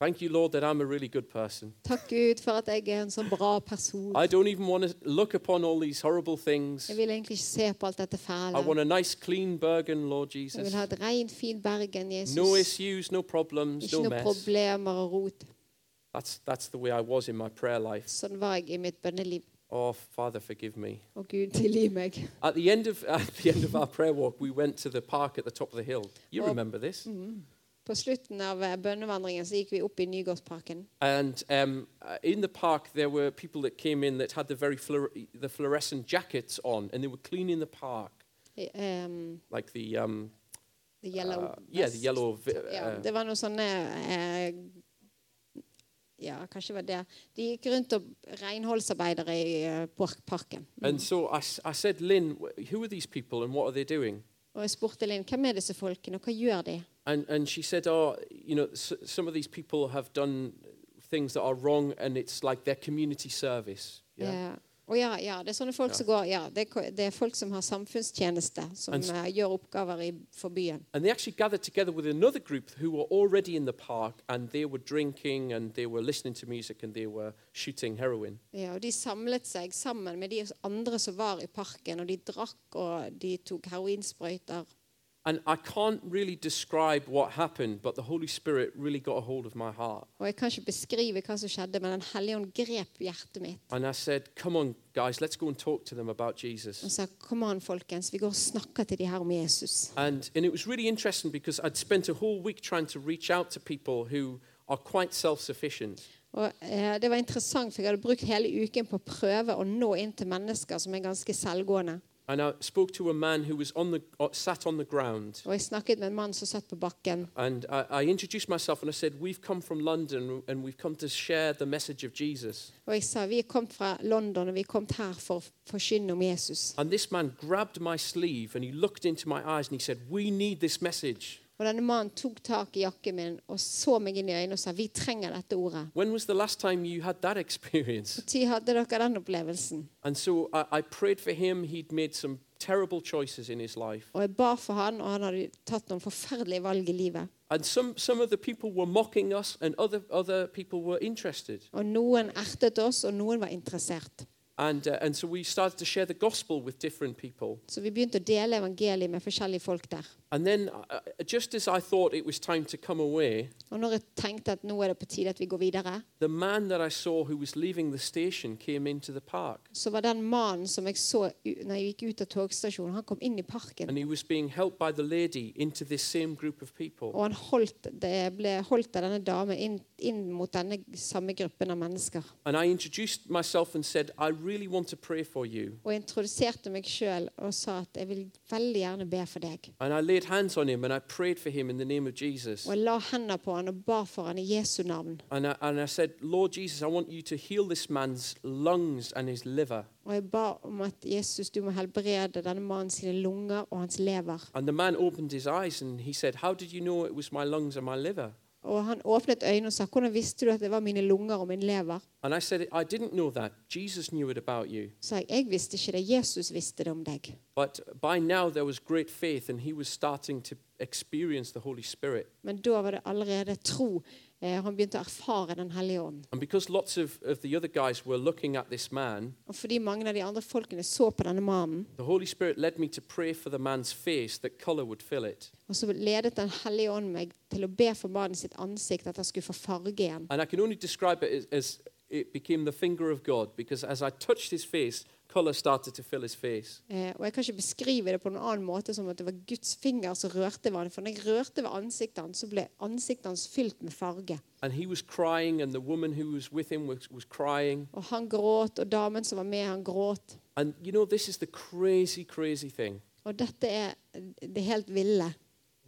Speaker 1: Thank you, Lord, that I'm a really good person.
Speaker 2: Takk Gud for at jeg er en sånn bra person.
Speaker 1: I don't even want to look upon all these horrible things.
Speaker 2: Jeg vil egentlig ikke se på alt dette
Speaker 1: I
Speaker 2: fæle.
Speaker 1: want a nice, clean Bergen, Lord
Speaker 2: Jeg
Speaker 1: Jesus.
Speaker 2: vil ha et rent, fint Bergen,
Speaker 1: No
Speaker 2: Jesus.
Speaker 1: issues, no problems,
Speaker 2: Ikke
Speaker 1: no
Speaker 2: noen
Speaker 1: mess.
Speaker 2: problemer og rot.
Speaker 1: That's, that's the way I was in my prayer life.
Speaker 2: Sånn var jeg i mitt bønneliv.
Speaker 1: Oh, Father, forgive me.
Speaker 2: Og Gud, tilgi meg.
Speaker 1: At the end of, at the end of our prayer walk, we went to the park at the top of the hill. You
Speaker 2: Oh.
Speaker 1: remember this?
Speaker 2: På slutten av eh, bønnevandringen så gikk vi opp i Nygårdsparken.
Speaker 1: And um, uh, in the park, there were people that came in that had the very fluor- the fluorescent jackets on, and they were cleaning the park,
Speaker 2: I, ehm,
Speaker 1: like the um,
Speaker 2: the yellow
Speaker 1: uh, yeah, the
Speaker 2: vest.
Speaker 1: yellow. vi-
Speaker 2: ja,
Speaker 1: uh,
Speaker 2: Det var noe sånne eh, Ja, kanskje det var det. De gikk rundt og renholdsarbeidere i eh, park- parken.
Speaker 1: and so I, s- I said, Lynn, wh- who are these people and what are they doing?
Speaker 2: Og jeg spurte Linn hvem er disse folkene, og hva gjør de?
Speaker 1: And and she said, oh, you know, s- some of these people have done things that are wrong, and it's like their community service. Yeah.
Speaker 2: Eh, og ja, ja, det er sånne folk
Speaker 1: Ja.
Speaker 2: som går Ja, det er, ko- det er folk som har samfunnstjeneste, som
Speaker 1: And s-
Speaker 2: eh, gjør oppgaver i, for byen.
Speaker 1: And they actually gathered together with another group who were already in the park, and they were drinking, and they were listening to music, and they were shooting heroin.
Speaker 2: Ja, og de samlet seg sammen med de andre som var i parken, og de drakk, og de tok heroinsprøyter.
Speaker 1: And I can't really describe what happened, but the Holy Spirit really got a hold of my heart.
Speaker 2: Og jeg kan ikke beskrive hva som skjedde, men Den hellige ånd grep hjertet mitt
Speaker 1: And I said, Come on, guys, let's go and talk to them about Jesus.
Speaker 2: og sa kom an, folkens, vi går og snakker til de her om Jesus.
Speaker 1: And, and it was really interesting because I'd spent a whole week trying to reach out to people who are quite self sufficient.
Speaker 2: Og eh, Det var interessant, for jeg hadde brukt hele uken på å prøve å nå inn til mennesker som er ganske selvgående.
Speaker 1: And I spoke to a man who was on the, uh, sat on the ground.
Speaker 2: Og jeg snakket med en mann som satt på bakken.
Speaker 1: And I, I introduced myself and I said, We've come from London and we've come to share the message of Jesus.
Speaker 2: Og jeg sa vi er kommet fra London, og vi er kommet her for å forkynne om Jesus.
Speaker 1: And this man grabbed my sleeve and he looked into my eyes and he said, We need this message.
Speaker 2: Og denne mannen tok tak i jakken min og så meg inn i øynene og sa vi trenger dette ordet.
Speaker 1: When was the last time you had that experience?
Speaker 2: Når hadde dere den opplevelsen?
Speaker 1: And so I, I prayed for him. He'd made some terrible choices in his life.
Speaker 2: Og jeg ba for han, og han hadde tatt noen forferdelige valg i livet.
Speaker 1: And some, some of the people were mocking us, and other, other people were interested.
Speaker 2: Og noen ertet oss, og noen var interessert.
Speaker 1: And, uh, and so we started to share the gospel with different people.
Speaker 2: Så vi begynte å dele evangeliet med forskjellige folk der.
Speaker 1: And then, uh, uh, just as I thought it was time to come away,
Speaker 2: Og når jeg tenkte at nå er det på tide at vi går videre,
Speaker 1: the man that I saw who was leaving the station came into the park.
Speaker 2: så var den mannen som jeg så u- når jeg gikk ut av togstasjonen, han kom inn i parken.
Speaker 1: And he was being helped by the lady into this same group of people.
Speaker 2: Og han holdt, det ble holdt av denne damen inn, inn mot denne samme gruppen av mennesker.
Speaker 1: And I introduced myself and said, I really want to pray for you.
Speaker 2: Og jeg introduserte meg sjøl og sa at jeg vil veldig gjerne be for deg.
Speaker 1: And I laid hands on him and I prayed for him in the name of Jesus.
Speaker 2: Og jeg la hendene på han og ba for han i Jesu navn.
Speaker 1: And I, and I said, Lord Jesus, I want you to heal this man's lungs and his liver.
Speaker 2: Og jeg ba om at Jesus, du må helbrede denne mannen sine lunger og hans lever.
Speaker 1: And the man opened his eyes and he said, How did you know it was my lungs and my liver?
Speaker 2: Og han åpnet øynene og sa, hvordan visste du at det var mine lunger og min lever?
Speaker 1: And I said, I didn't know that. Jesus knew it about you.
Speaker 2: Så jeg, jeg visste ikke det, Jesus visste det om deg.
Speaker 1: But by now there was great faith and he was starting to experience the Holy Spirit.
Speaker 2: Men da var det allerede tro. Eh, han begynte å erfare Den hellige ånd.
Speaker 1: And because lots of, of the other guys were looking at this man,
Speaker 2: Og fordi mange av de andre folkene så på denne mannen,
Speaker 1: the Holy Spirit led me to pray for the man's face that color would fill it.
Speaker 2: og så ledet Den hellige ånd meg til å be for mannen sitt ansikt at han skulle få farge igjen.
Speaker 1: And I can only describe it as, as it became the finger of God because as I touched his face, color started to fill his face.
Speaker 2: Eh, og jeg kan ikke beskrive det på noen annen måte som at det var Guds finger som rørte ved han. For når jeg rørte ved ansiktet hans, så ble ansiktet hans fylt med farge.
Speaker 1: And he was crying, and the woman who was with him was, was crying.
Speaker 2: Og han gråt, og damen som var med, han gråt.
Speaker 1: And you know, this is the crazy, crazy thing.
Speaker 2: Og dette er det helt ville.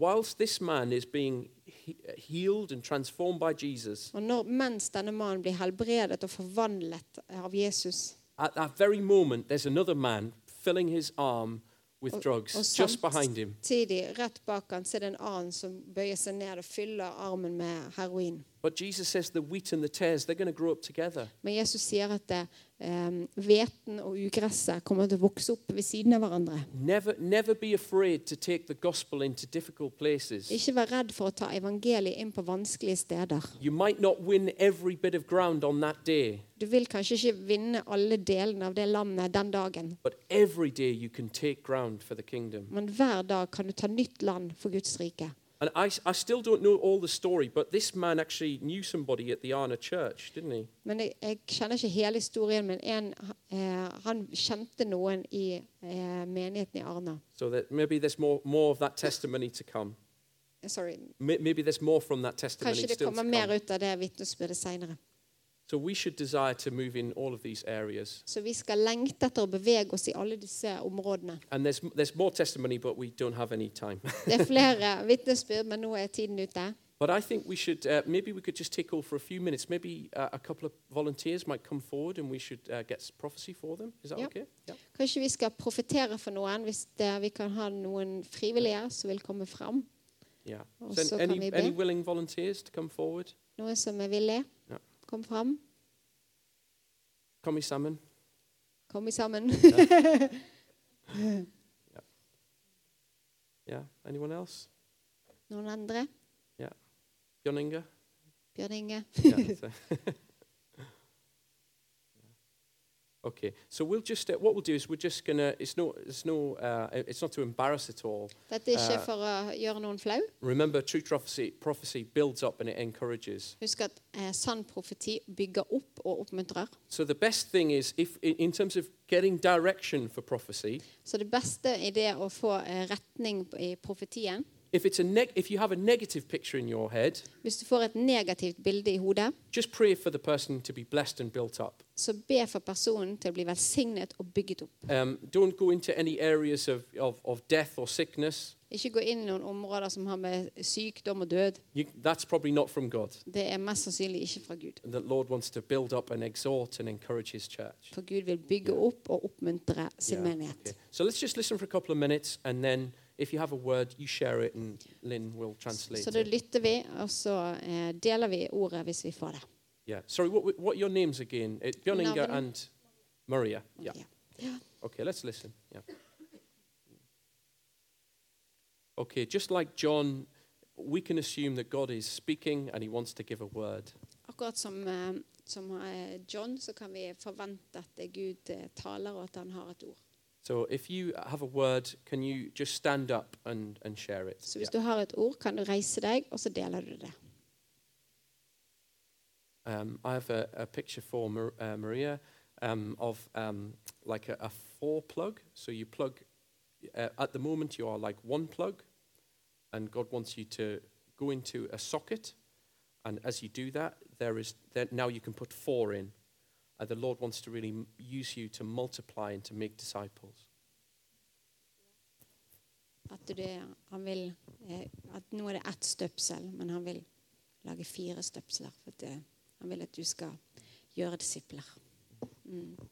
Speaker 1: Whilst this man is being he- healed and transformed by Jesus,
Speaker 2: Og når, mens denne mannen blir helbredet og forvandlet av Jesus,
Speaker 1: at that very moment, there's another man filling his arm with
Speaker 2: Og-
Speaker 1: drugs
Speaker 2: og
Speaker 1: just
Speaker 2: samt-
Speaker 1: behind him.
Speaker 2: samtidig rett bak han så er det en annen som bøyer seg ned og fyller armen med heroin.
Speaker 1: But Jesus says the wheat and the tares, they're going to grow up together.
Speaker 2: Men Jesus sier at det, eh, hveten og ugresset kommer til å vokse opp ved siden av hverandre.
Speaker 1: Never, never be afraid to take the gospel into difficult places.
Speaker 2: Ikke vær redd for å ta evangeliet inn på vanskelige steder.
Speaker 1: You might not win every bit of ground on that day,
Speaker 2: Du vil kanskje ikke vinne alle delene av det landet den dagen,
Speaker 1: but every day you can take ground for the kingdom.
Speaker 2: men hver dag kan du ta nytt land for Guds rike.
Speaker 1: And I, I still don't know all the story, but this man actually knew somebody at the Arna church, didn't he?
Speaker 2: Men jeg, jeg kjenner ikke hele historien, men en, eh, han kjente noen i eh, menigheten i Arna.
Speaker 1: So that maybe there's more, more of that testimony to come.
Speaker 2: Eh, Sorry.
Speaker 1: May- Maybe there's more from that testimony
Speaker 2: Kanskje det
Speaker 1: still to
Speaker 2: kommer
Speaker 1: come.
Speaker 2: mer ut av det vitnesbyrdet seinere.
Speaker 1: So we should desire to move in all of these areas.
Speaker 2: Så vi skal lengte etter å bevege oss i alle disse områdene.
Speaker 1: And there's, there's more testimony, but we don't have any time.
Speaker 2: Det er flere vitnesbyrd, men nå er tiden ute.
Speaker 1: but I think we should, uh, maybe we could just take over for a few minutes. Maybe uh, a couple of volunteers might come forward and we should uh, get s- prophecy for them. Is that
Speaker 2: Yeah.
Speaker 1: okay? Yeah.
Speaker 2: Kanskje vi skal profetere for noen, hvis det, vi kan ha noen frivillige som vil komme fram.
Speaker 1: Yeah.
Speaker 2: Og
Speaker 1: So
Speaker 2: så kan vi
Speaker 1: any,
Speaker 2: be.
Speaker 1: any willing volunteers to come forward?
Speaker 2: Noen som er villig.
Speaker 1: Ja.
Speaker 2: Kom fram.
Speaker 1: Come, Salmon.
Speaker 2: Kom vi sammen.
Speaker 1: Yeah. Anyone else?
Speaker 2: Noen andre.
Speaker 1: Bjørn Inge?
Speaker 2: Bjørn Inge.
Speaker 1: Yeah, so- Okay, so we'll just uh, what we'll do is we're just gonna. It's no, it's no, uh, it's not to embarrass at all.
Speaker 2: Dette er ikke
Speaker 1: Eh.
Speaker 2: for å gjøre noen flau.
Speaker 1: Remember, true prophecy prophecy builds up and it encourages.
Speaker 2: Husk at eh, sann profeti bygger opp og oppmuntrer.
Speaker 1: So the best thing is if in- in terms of getting direction for prophecy,
Speaker 2: Så det beste i det å få eh, retning i profetien
Speaker 1: if it's a neg- if you have a negative picture in your head,
Speaker 2: Hvis du får et negativt bilde i hodet,
Speaker 1: just pray for the person to be blessed and built up.
Speaker 2: så be for personen til å bli velsignet og bygget opp.
Speaker 1: Um, don't go into any areas of, of, of death or sickness.
Speaker 2: Ikke gå inn i noen områder som har med sykdom og død
Speaker 1: You, that's probably not from God.
Speaker 2: Det er mest sannsynlig ikke fra Gud.
Speaker 1: The Lord wants to build up and exhort and encourage His church.
Speaker 2: For Gud vil bygge opp og oppmuntre sin
Speaker 1: Yeah,
Speaker 2: menighet.
Speaker 1: okay. So let's just listen for a couple of minutes, and then if you have a word, you share it, and Lynn will translate.
Speaker 2: Så da
Speaker 1: it.
Speaker 2: lytter vi, og så eh, deler vi ordet hvis vi får det.
Speaker 1: Yeah. Sorry, what w- what are your names again? It, Bjørninga
Speaker 2: Navn.
Speaker 1: and Maria. Yeah.
Speaker 2: Ja.
Speaker 1: Okay, let's listen. Yeah. Okay, just like John, we can assume that God is speaking and he wants to give a word.
Speaker 2: Akkurat som, eh, som eh, John, så kan vi forvente at eh, Gud eh, taler, og at han har et ord.
Speaker 1: So if you have a word, can you just stand up and, and share it?
Speaker 2: Så hvis du har et ord, kan du reise deg, og så deler du det.
Speaker 1: Um, I have a, a picture for Mar- uh, Maria um, of um, like a, a four plug. So you plug, uh, at the moment, you are like one plug, and God wants you to go into a socket. And as you do that, there is there, now you can put four in. Uh, the Lord wants to really m- use you to multiply and to make disciples.
Speaker 2: At, du, han vil, eh, at nå er det ett støpsel, men han vil lage fire støpsler. For at, eh, han vil at du skal gjøre disipler. Mm.